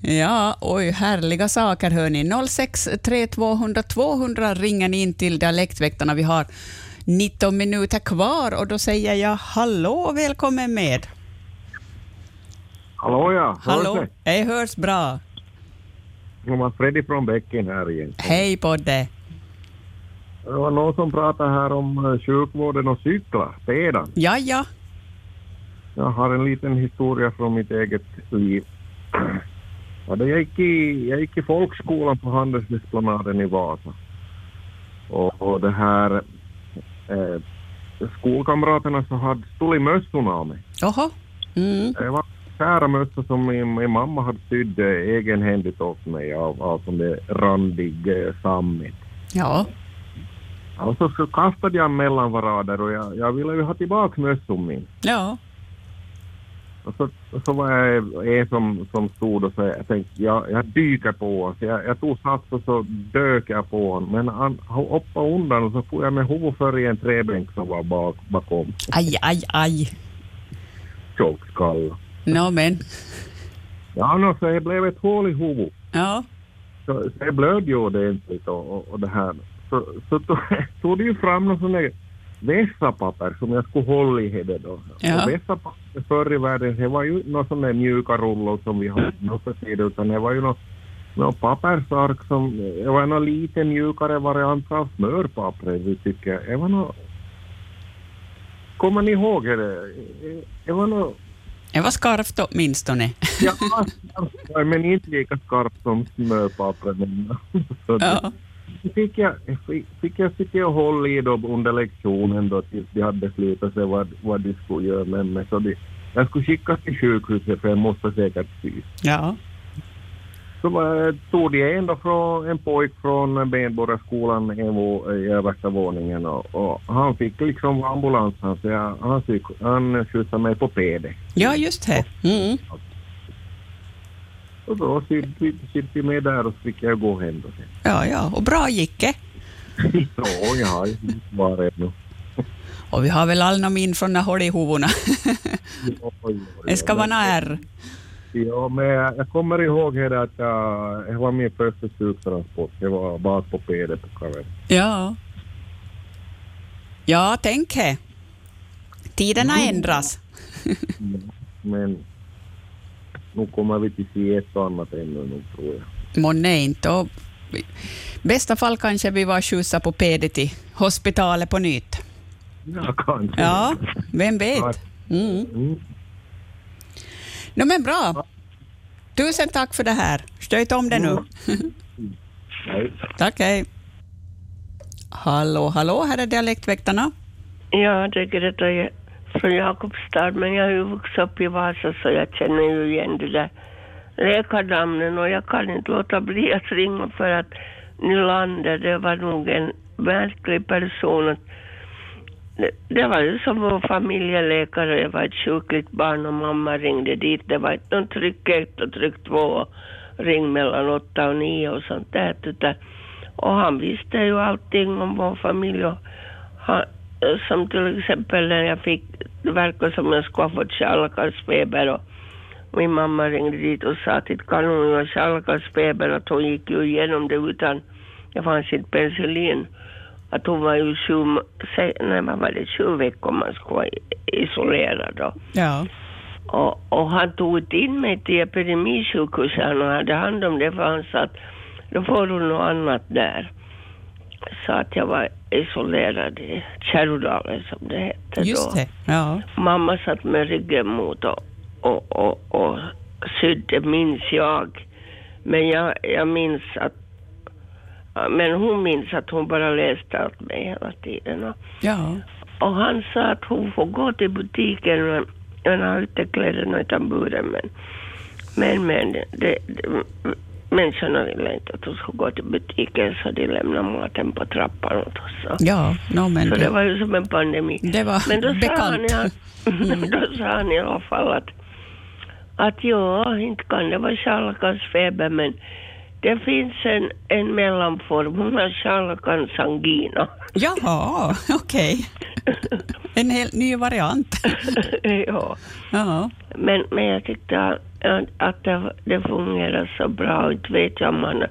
[SPEAKER 1] Ja, oj, härliga saker hörni. 06 3200 200 ringer ni in till Dialektväktarna. Vi har 19 minuter kvar och då säger jag hallå och välkommen med.
[SPEAKER 11] Hallå ja,
[SPEAKER 1] Hallå, hej hörs bra.
[SPEAKER 11] Det var Freddy från Bäcken här igen.
[SPEAKER 1] Hej Podde.
[SPEAKER 11] Det var någon som pratade här om eh, sjukvården och cyklar sedan.
[SPEAKER 1] Ja, ja,
[SPEAKER 11] Jag har en liten historia från mitt eget liv. Ja, då jag, gick i, jag gick i folkskolan på Handelsesplanaden i Vasa. Och, och det här... Eh, skolkamraterna så hade stulit mössorna av mig.
[SPEAKER 1] Jaha. Mm.
[SPEAKER 11] Det var kära mössa som min, min mamma hade sydd eh, egenhändigt åt mig av, av som det randig eh, sammet.
[SPEAKER 1] Ja.
[SPEAKER 11] Ja, Och så, så kastade jag mellan varader och jag, jag ville ju ha tillbaka mössan min.
[SPEAKER 1] Ja.
[SPEAKER 11] Och så, och så var jag en som, som stod och sa, jag tänkte jag, jag dyker på honom. Så jag, jag tog sats och så dök jag på honom. Men han han hoppade undan och så får jag med huvudet före i en träbänk som var bak, bakom.
[SPEAKER 1] Aj, aj, aj.
[SPEAKER 11] Tjockskalle.
[SPEAKER 1] Nå men.
[SPEAKER 11] Ja, no, så det blev ett hål i huvudet.
[SPEAKER 1] Ja.
[SPEAKER 11] Så, så jag blödde ju ordentligt och, och, och det här. Så, så tog, *laughs* tog det ju fram någon sån där vässapapper som jag skulle hålla i henne då.
[SPEAKER 1] Ja.
[SPEAKER 11] Och vässapapper förr i världen, det var ju någon sån där mjuka rullor som vi har nu för tiden, utan det var ju någon, någon pappersark som, det var någon lite mjukare variant av smörpapper, det tycker jag. Det var nå Kommer ni ihåg det? Det var nå
[SPEAKER 1] Det var skarpt åtminstone.
[SPEAKER 11] Ja, skarpt, men inte lika skarpt som smörpapper. Men, så det-
[SPEAKER 1] Ja.
[SPEAKER 11] fick jag, fick, fick jag sitta och hålla i dem under lektionen då tills de hade beslutat sig vad, vad de skulle göra med mig. Så de, jag skulle skickas till sjukhuset för jag måste säkert sys.
[SPEAKER 1] Ja.
[SPEAKER 11] Så var, tog de en, då från, en pojk från Benborgarskolan i vå- i översta våningen och, och han fick liksom ambulans han, så jag, han, fick, han skjutsade mig på PD.
[SPEAKER 1] Ja, just det. Mm.
[SPEAKER 11] Och då sydde vi- sydde vi med där och så fick jag gå hem då sen.
[SPEAKER 1] Ja, ja. Och bra gick det.
[SPEAKER 11] Så jag har ju varit nu.
[SPEAKER 1] Och vi har väl alla min från när hål i
[SPEAKER 11] *laughs*
[SPEAKER 1] huvudena. Det ska vara några ärr.
[SPEAKER 11] Ja, men jag jag kommer ihåg här att jag, det var min första sjuktransport. Jag var bak på PD på Kaveri.
[SPEAKER 1] Ja. Ja, tänk här. Tiderna
[SPEAKER 11] Mm.
[SPEAKER 1] ändras.
[SPEAKER 11] Men nu kommer vi till se ett och annat ännu, nu, tror jag.
[SPEAKER 1] Månne inte. Och i bästa fall kanske vi var skjutsa på PD till hospitalet på nytt.
[SPEAKER 11] Ja, kanske.
[SPEAKER 1] Ja, vem vet? Mm.
[SPEAKER 11] Mm.
[SPEAKER 1] No, men bra. Tusen tack för det här. Stöt om det nu. *laughs*
[SPEAKER 11] Nej.
[SPEAKER 1] Tack, hej. Hallå, hallå, här är dialektväktarna.
[SPEAKER 12] Ja, det är Greta jag- från Jakobstad, men jag har ju vuxit upp i Vasa så jag känner ju igen de där läkarnamnen och jag kan inte låta bli att ringa för att Nylander, det var nog en märklig person. Att det, det var ju som vår familjeläkare, jag var ett sjukligt barn och mamma ringde dit. Det var inte någon tryck ett och tryck två och ring mellan åtta och nio och sånt där. utan- Och han visste ju allting om vår familj och han, som till exempel när jag fick, det verkade som jag skulle ha fått kärlkarsfeber och min mamma ringde dit och sa att inte kan hon ju ha kärlkarsfeber att hon gick ju igenom det utan det fanns inte penicillin. Att hon var ju sju, se, nej vad var det, sju veckor man skulle vara i- isolerad då.
[SPEAKER 1] Ja.
[SPEAKER 12] Och, och han tog inte in mig till epidemisjukhuset, han hade hand om det för han sa att då får du något annat där. Så att jag var isolerad i Kärrodalen som det hette då.
[SPEAKER 1] Just det. Ja.
[SPEAKER 12] Mamma satt med ryggen mot och, och, och, och sydde, minns jag. Men jag, jag minns att... Men hon minns att hon bara läste allt mig hela tiden. Och,
[SPEAKER 1] Ja.
[SPEAKER 12] och han sa att hon får gå till butiken, men hon har inte kläderna utan buren. Men, men, men det, det, människorna ville inte att hon skulle gå till butiken så de lämnade maten på trappan åt oss.
[SPEAKER 1] Ja, no, men
[SPEAKER 12] så det
[SPEAKER 1] det-
[SPEAKER 12] var ju som en pandemi.
[SPEAKER 1] Det var
[SPEAKER 12] men då sa, han,
[SPEAKER 1] bekant.
[SPEAKER 12] i alla-
[SPEAKER 1] *laughs*
[SPEAKER 12] då sa han i alla fall att, att ja, inte kan det vara kärlkansfeber men det finns en, en mellanform, hon har kärlkansangina.
[SPEAKER 1] Jaha, okej.
[SPEAKER 12] *laughs*
[SPEAKER 1] En helt ny variant.
[SPEAKER 12] ja.
[SPEAKER 1] Ja.
[SPEAKER 12] Men, men jag tyckte att- att det, det fungerade så bra. Och Inte vet jag om han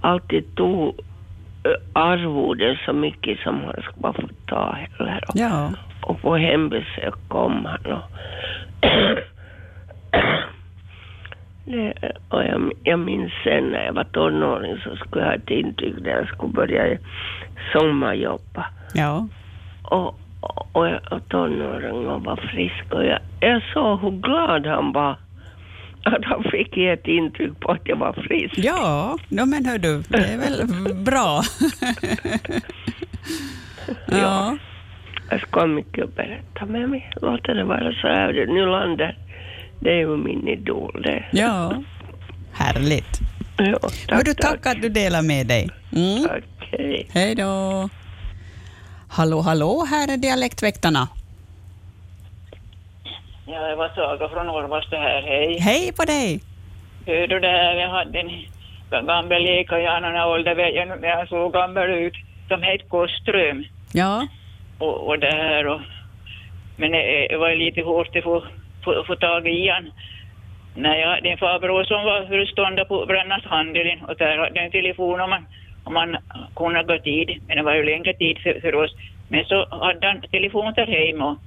[SPEAKER 12] alltid tog eh, arvoden så mycket som han skulle ha fått ta heller. Och,
[SPEAKER 1] Ja.
[SPEAKER 12] och på hembesök kom han. Och, *clears throat* det, och jag, jag minns sen när jag var tonåring så skulle jag ha ett intyg där jag skulle börja sommarjobba.
[SPEAKER 1] Ja.
[SPEAKER 12] Och, och, och tonåring och var frisk och jag, jag såg hur glad han var. Att han fick ge ett intryck på att jag var frisk.
[SPEAKER 1] Ja, no, men hör du, det
[SPEAKER 12] *laughs*
[SPEAKER 1] är väl bra.
[SPEAKER 12] ja. Jag ska ha mycket att berätta med mig. Låter det vara så här. Nylander, det är ju min idol det.
[SPEAKER 1] Ja, härligt.
[SPEAKER 12] Ja,
[SPEAKER 1] tack, du, tack, att du delar med dig. Mm.
[SPEAKER 12] Okej.
[SPEAKER 1] Hej då. Hallå, hallå, här är Dialektväktarna.
[SPEAKER 13] Ja, det var Saga från Orvas det här. Hej.
[SPEAKER 1] Hej på dig!
[SPEAKER 13] Hör du det här, jag hade en gammal lekajan och ålder, vet jag nu, men jag såg gammal ut, som hette Koström.
[SPEAKER 1] Ja,
[SPEAKER 13] Och, och det här och... Men det, det var ju lite hårt att få, få, få tag i han. När jag hade en farbror som var föreståndare på Brännas handeln och där hade jag en telefon om man, om man kunde gå tid, men det var ju längre tid för, för oss. Men så hade han telefon där hemma och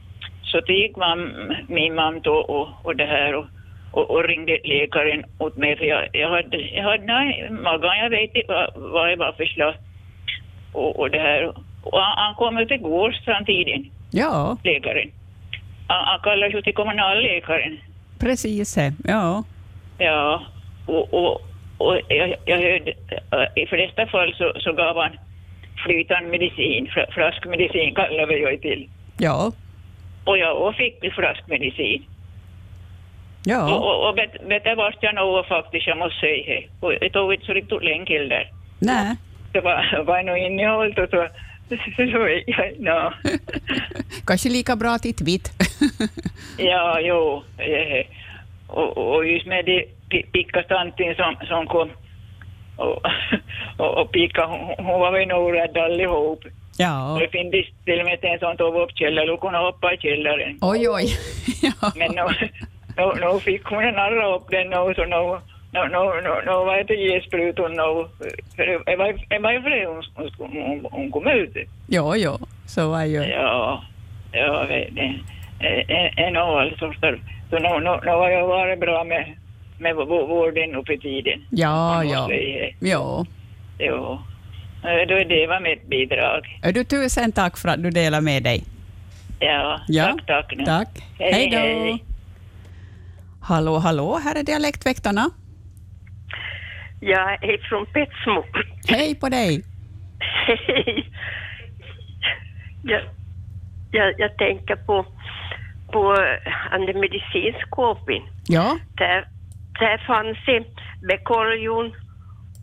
[SPEAKER 13] så det gick mam, min mamma då och, och det här och, och, och ringde läkaren åt mig för jag, jag hade, jag hade nej, magen, jag vet inte vad, vad det var för slag. Och, och det här. Och han, han kom ut igår samtidigt,
[SPEAKER 1] ja
[SPEAKER 13] läkaren. Han, han kallades ju till kommunalläkaren.
[SPEAKER 1] precis. Ja.
[SPEAKER 13] Ja, och, och, och jag, jag hörde eh, i flesta fall så, så gav han flytande medicin, fl- flaskmedicin kallar vi ju till.
[SPEAKER 1] Ja.
[SPEAKER 13] Och jag och fick flaskmedicin.
[SPEAKER 1] Ja.
[SPEAKER 13] Och, och, och bet- bättre vart jag nog faktiskt, jag måste säga. Och det tog inte så riktigt länge till där.
[SPEAKER 1] Nej.
[SPEAKER 13] Det var, var nog innehållet och så. så jag, ja,
[SPEAKER 1] Kanske lika bra titt vitt.
[SPEAKER 13] ja, jo. eh, Och, och just med det pi- pickatanten som, som kom och, och, och picka, hon, hon var väl nog rädd allihop.
[SPEAKER 1] Ja.
[SPEAKER 13] Det finns till och med en som tog upp källarluckorna och hoppade i källaren.
[SPEAKER 1] Oj, oj.
[SPEAKER 13] Men nu, nu, nu fick hon en arra upp den nu, så nu, nu, nu, nu, nu var det till gesprutor nu. För det- det var- det var ju för det hon, hon- hon, hon kom ut.
[SPEAKER 1] *laughs* Ja, ja, så var ju.
[SPEAKER 13] Ja, ja, det- det- en- en av all sorts. där. Så nu, nu, nu har jag varit bra med, med vå- vården uppe i tiden.
[SPEAKER 1] Ja, ja.
[SPEAKER 13] säga.
[SPEAKER 1] Ja.
[SPEAKER 13] Jo. Eh, Då är det var mitt bidrag.
[SPEAKER 1] Är du tusen tack för att du delar med dig.
[SPEAKER 13] Ja,
[SPEAKER 1] Ja,
[SPEAKER 13] tack, tack. nu.
[SPEAKER 1] Tack.
[SPEAKER 13] Hej,
[SPEAKER 1] Hej då.
[SPEAKER 13] hej.
[SPEAKER 1] Hallå, hallå, här är Dialektväktarna.
[SPEAKER 9] Jag är från Petsmo.
[SPEAKER 1] Hej på dig.
[SPEAKER 9] Hej! Jag, jag, jag tänker på, på den medicinskåpen.
[SPEAKER 1] Ja,
[SPEAKER 9] Där, där fanns det Bekorjon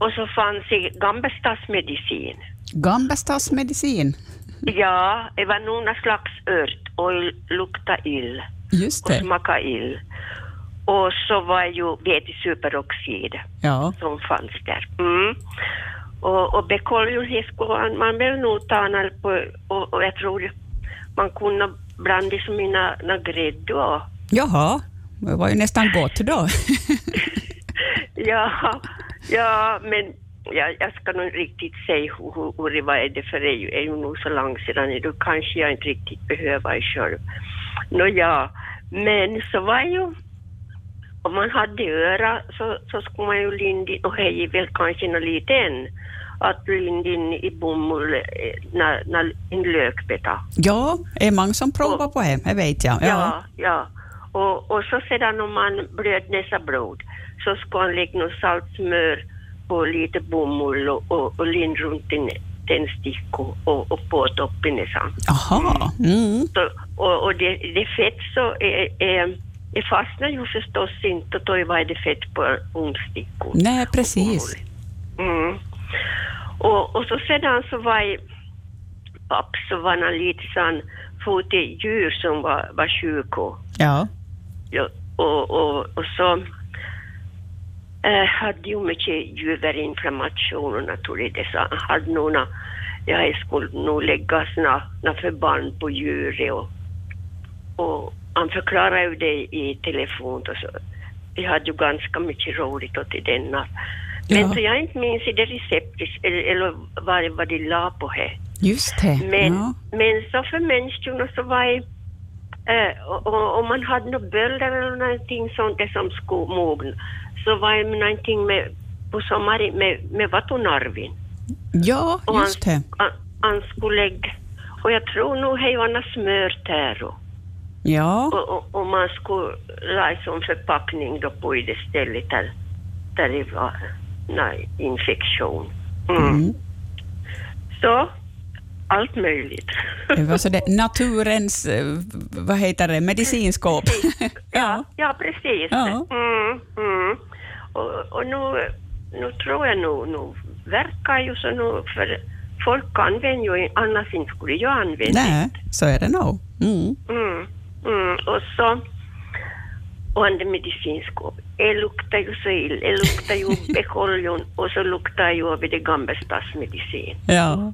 [SPEAKER 9] och så fanns det Gambestasmedicin.
[SPEAKER 1] Gambestas medicin.
[SPEAKER 9] Ja, det var någon slags ört och lukta ill
[SPEAKER 1] Just
[SPEAKER 9] och
[SPEAKER 1] det.
[SPEAKER 9] smaka ill. Och så var ju vetesuperoxid.
[SPEAKER 1] Ja,
[SPEAKER 9] som fanns där. Mm. Och, och bekoljun skulle man väl nog ta när på och, och jag tror man kunde blanda som mina na grädde och
[SPEAKER 1] jaha. Det var ju nästan gott då. *laughs*
[SPEAKER 9] *laughs* ja, ja, men jag, jag ska nog riktigt säga hur, hur, hur det var det för det är ju- är ju nog så långt sedan då kanske jag inte riktigt behöver det själv. Nåja, men så var ju om man hade öra så, så skulle man ju linda in, och hej väl kanske något lite än, att linda in i bomull eh, när, när en lökbeta.
[SPEAKER 1] Ja, är många som provar på det, det vet jag.
[SPEAKER 9] Ja, ja. Och, och så sedan om man blöd näsa blod så ska han lägga något salt smör på lite bomull och, och, och linda runt en, en stick och, och, och på toppen näsan.
[SPEAKER 1] Jaha. Mm.
[SPEAKER 9] Så, och, och det, det fett så är, är, det fastnar ju förstås inte och då var det fett på ungstick.
[SPEAKER 1] Nej, precis.
[SPEAKER 9] Mm. Och, och så sedan så var jag papp så var han lite sån få till djur som var, var sjuka.
[SPEAKER 1] Ja.
[SPEAKER 9] Ja, och, och, och så eh, hade ju mycket juverinflammation och naturligtvis så han hade nog nå- ja, jag skulle nog lägga såna, nå förband på djuret och, och han förklarade ju det i telefon och så. Vi hade ju ganska mycket roligt åt i denna. Men så jag inte minns i det receptet eller, eller vad det var de la på här.
[SPEAKER 1] Just det.
[SPEAKER 9] Men,
[SPEAKER 1] Ja.
[SPEAKER 9] men så för människorna så var det, eh, och- och om man hade några bölder eller någonting sånt där som skulle mogna, så var det någonting med, på sommaren med, med vatonarvin.
[SPEAKER 1] ja,
[SPEAKER 9] Och han,
[SPEAKER 1] just det.
[SPEAKER 9] han, han skulle lägga, Och jag tror nog hejarna smört här och,
[SPEAKER 1] Ja.
[SPEAKER 9] och, och, och man skulle la i sån förpackning då på i det stället där, där det var nej, infektion.
[SPEAKER 1] Mm.
[SPEAKER 9] Så, allt möjligt.
[SPEAKER 1] Det var så det, naturens, eh, vad heter det, medicinskåp.
[SPEAKER 9] Ja, ja precis.
[SPEAKER 1] Ja.
[SPEAKER 9] Mm, mm. Och, och nu, nu tror jag nog, nu verkar ju så nu, för folk använder ju, annars inte skulle jag använda
[SPEAKER 1] Nej, så är det nog. Mm.
[SPEAKER 9] Mm, mm. Och så... Och det medicinskåpet. Det luktar ju så illa. Det
[SPEAKER 1] *laughs*
[SPEAKER 9] luktar ju bekoljon och så luktar ju av det gamla stadsmedicin.
[SPEAKER 1] Ja.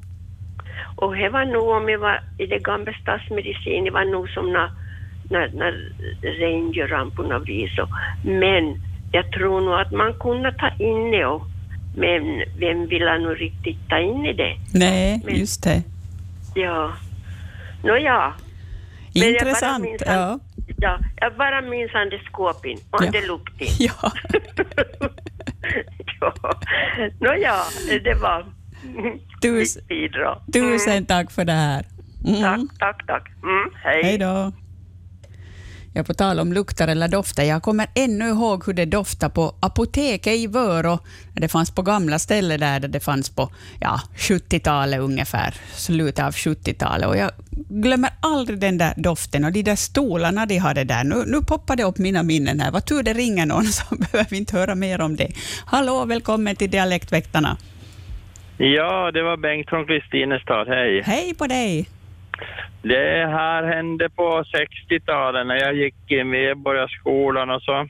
[SPEAKER 9] Och det var nog om jag var i det gamla stadsmedicin, det var nog som när, när, när rangerramporna blev så. Men jag tror nog att man kunde ta in det och, men vem ville nu riktigt ta in i det?
[SPEAKER 1] Nej, just det.
[SPEAKER 9] Ja. Nåja. Men jag bara
[SPEAKER 1] Intressant.
[SPEAKER 9] minns att-
[SPEAKER 1] Ja.
[SPEAKER 9] Ja, jag bara minns han det skåpin och han
[SPEAKER 1] Ja.
[SPEAKER 9] det luktin.
[SPEAKER 1] *laughs* Ja.
[SPEAKER 9] *laughs* ja. Nåja, det var
[SPEAKER 1] Tus,
[SPEAKER 9] mitt bidrag.
[SPEAKER 1] tusen tack för det här. Mm.
[SPEAKER 9] Tack, tack. Mm, hej.
[SPEAKER 1] Hej då. Jag på tal om luktar eller dofter, jag kommer ännu ihåg hur det doftade på apoteket i Vörå. Det fanns på gamla ställen där, där det fanns på ja, 70-talet ungefär, slutet av 70-talet. Och jag glömmer aldrig den där doften och de där stolarna de hade där. Nu, nu poppar det upp mina minnen här. Vad tur det ringer någon, *laughs* så behöver vi inte höra mer om det. Hallå, välkommen till Dialektväktarna.
[SPEAKER 14] Ja, det var Bengt från Kristinestad. Hej.
[SPEAKER 1] Hej på dig!
[SPEAKER 14] Det här hände på 60-talet när jag gick i Medborgarskolan och så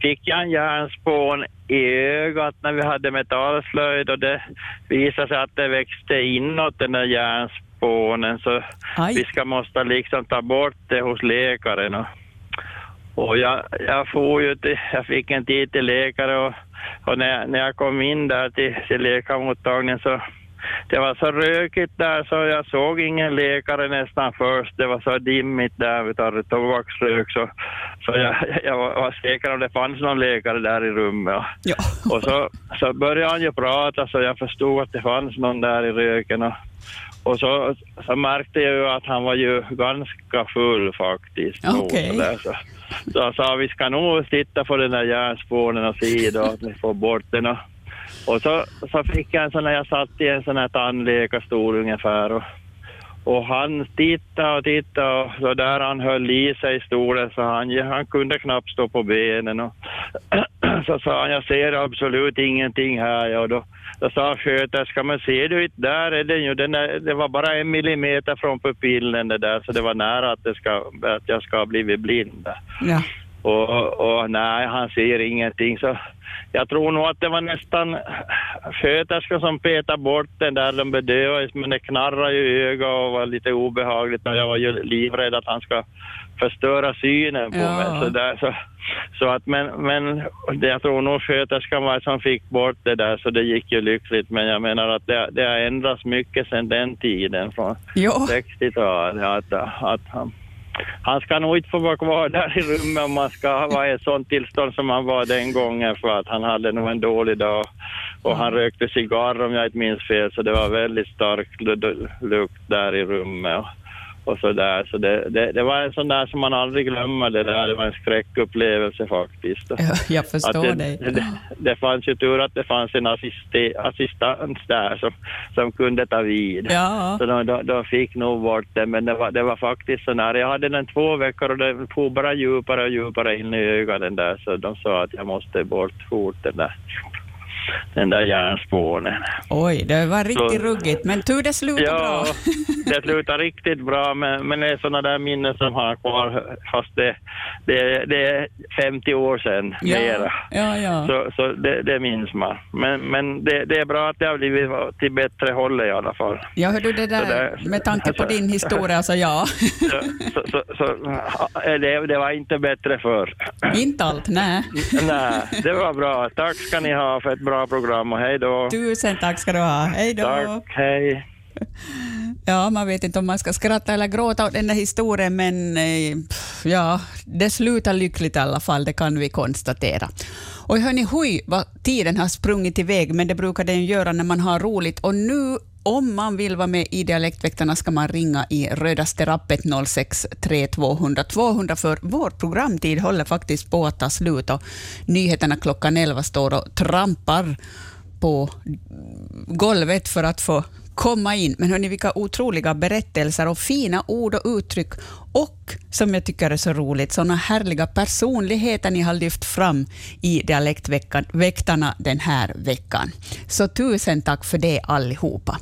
[SPEAKER 14] fick jag en järnspån i ögat när vi hade metallslöjd och det visade sig att det växte inåt den där järnspånen så vi ska måste liksom ta bort det hos läkaren. Och, och jag, jag, får ju till, jag fick en tid till läkare och, och när, jag- när jag kom in där till, till läkarmottagningen så det var så rökigt där så jag såg ingen läkare nästan först. Det var så dimmigt där utav tobaksrök så, så jag, jag var var säker om det fanns någon läkare där i rummet.
[SPEAKER 1] Ja.
[SPEAKER 14] Och så, så började han ju prata så jag förstod att det fanns någon där i röken. Och, och så, så märkte jag ju att han var ju ganska full faktiskt. nog.
[SPEAKER 15] Okej.
[SPEAKER 14] Så där, så. så jag sa vi ska nog titta på den där järnspånen och se då att vi får bort den. Och, och så, så fick jag en sån här, jag satt i en sån här tandläkarstol ungefär och, och han tittade och tittade och så där han höll i sig i stolen så han, han kunde knappt stå på benen. Och *clears throat* så sa han, jag ser absolut ingenting här. Ja, och då, då sa sköterskan, men ser du inte, där är den ju, den är, det var bara en millimeter från pupillen det där så det var nära att, det ska, att jag ska ha blivit blind. där."
[SPEAKER 1] Ja.
[SPEAKER 14] Och, och, och nej, han ser ingenting. Så jag tror nog att det var nästan sköterskan som petade bort den där. De bedövades, men det knarrade ju i ögat och var lite obehagligt. Och jag var ju livrädd att han ska förstöra synen på
[SPEAKER 16] Ja.
[SPEAKER 14] mig. Så där, så, så att, men men det, jag tror nog sköterskan var som fick bort det där, så det gick ju lyckligt. Men jag menar att det, det har ändrats mycket sedan den tiden, från
[SPEAKER 1] Jo.
[SPEAKER 14] 60-talet. Att, att han, han ska nog inte få vara kvar där i rummet om han ska vara i ett sånt tillstånd som han var den gången för att han hade nog en dålig dag. Och han rökte cigarr om jag inte minns fel så det var väldigt stark lu- lu- lukt där i rummet. Och, och så där. så det, det, det var en sån där som man aldrig glömmer det där. Det var en skräckupplevelse faktiskt.
[SPEAKER 1] Jag förstår
[SPEAKER 14] Att
[SPEAKER 1] dig.
[SPEAKER 14] Det, det, det fanns ju tur att det fanns en assisti, assistans där som, som kunde ta vid.
[SPEAKER 1] Ja.
[SPEAKER 14] Så de, de, de fick nog bort det, men det var, det var faktiskt så nära. Jag hade den två veckor och den for bara djupare och djupare in i ögonen där, så de sa att jag måste bort fort den där, den där järnspånen.
[SPEAKER 1] Oj, det var riktigt
[SPEAKER 14] Så-
[SPEAKER 1] ruggigt, men tur det slutade
[SPEAKER 14] Ja,
[SPEAKER 1] bra.
[SPEAKER 14] *laughs* det slutar riktigt bra, men, men det är sådana där minnen som har kvar, fast det, det, det är 50 år sedan,
[SPEAKER 1] Ja.
[SPEAKER 14] mera.
[SPEAKER 1] Ja, ja.
[SPEAKER 14] Så, så det, det minns man. Men, men det, det är bra att det har blivit till bättre hållet i alla fall.
[SPEAKER 1] Ja, hördu, det
[SPEAKER 14] Så
[SPEAKER 1] där,
[SPEAKER 14] där- Alltså-
[SPEAKER 1] med tanke på din historia,
[SPEAKER 14] *laughs*
[SPEAKER 1] så ja.
[SPEAKER 14] Så, så, så, så, ja, det, det var inte bättre förr.
[SPEAKER 1] Inte allt, nej.
[SPEAKER 14] Nej, det var bra. Tack ska ni ha för ett bra program och hej då.
[SPEAKER 1] Tusen tack ska du ha. Hej då.
[SPEAKER 14] Tack, hej.
[SPEAKER 1] *laughs* Ja, man vet inte om man ska skratta eller gråta åt den där historien, men eh, pff, ja, det slutar lyckligt i alla fall, det kan vi konstatera. Och hörni, hoj vad tiden har sprungit iväg, men det brukar den göra när man har roligt. Och nu Om man vill vara med i Dialektväktarna ska man ringa i rödaste rappet 06 3 200 200, för vår programtid håller faktiskt på att ta slut och nyheterna klockan 11 står och trampar på golvet för att få komma in. Men hörni, vilka otroliga berättelser och fina ord och uttryck och, som jag tycker är så roligt, sådana härliga personligheter ni har lyft fram i Dialektväktarna den här veckan. Så tusen tack för det allihopa.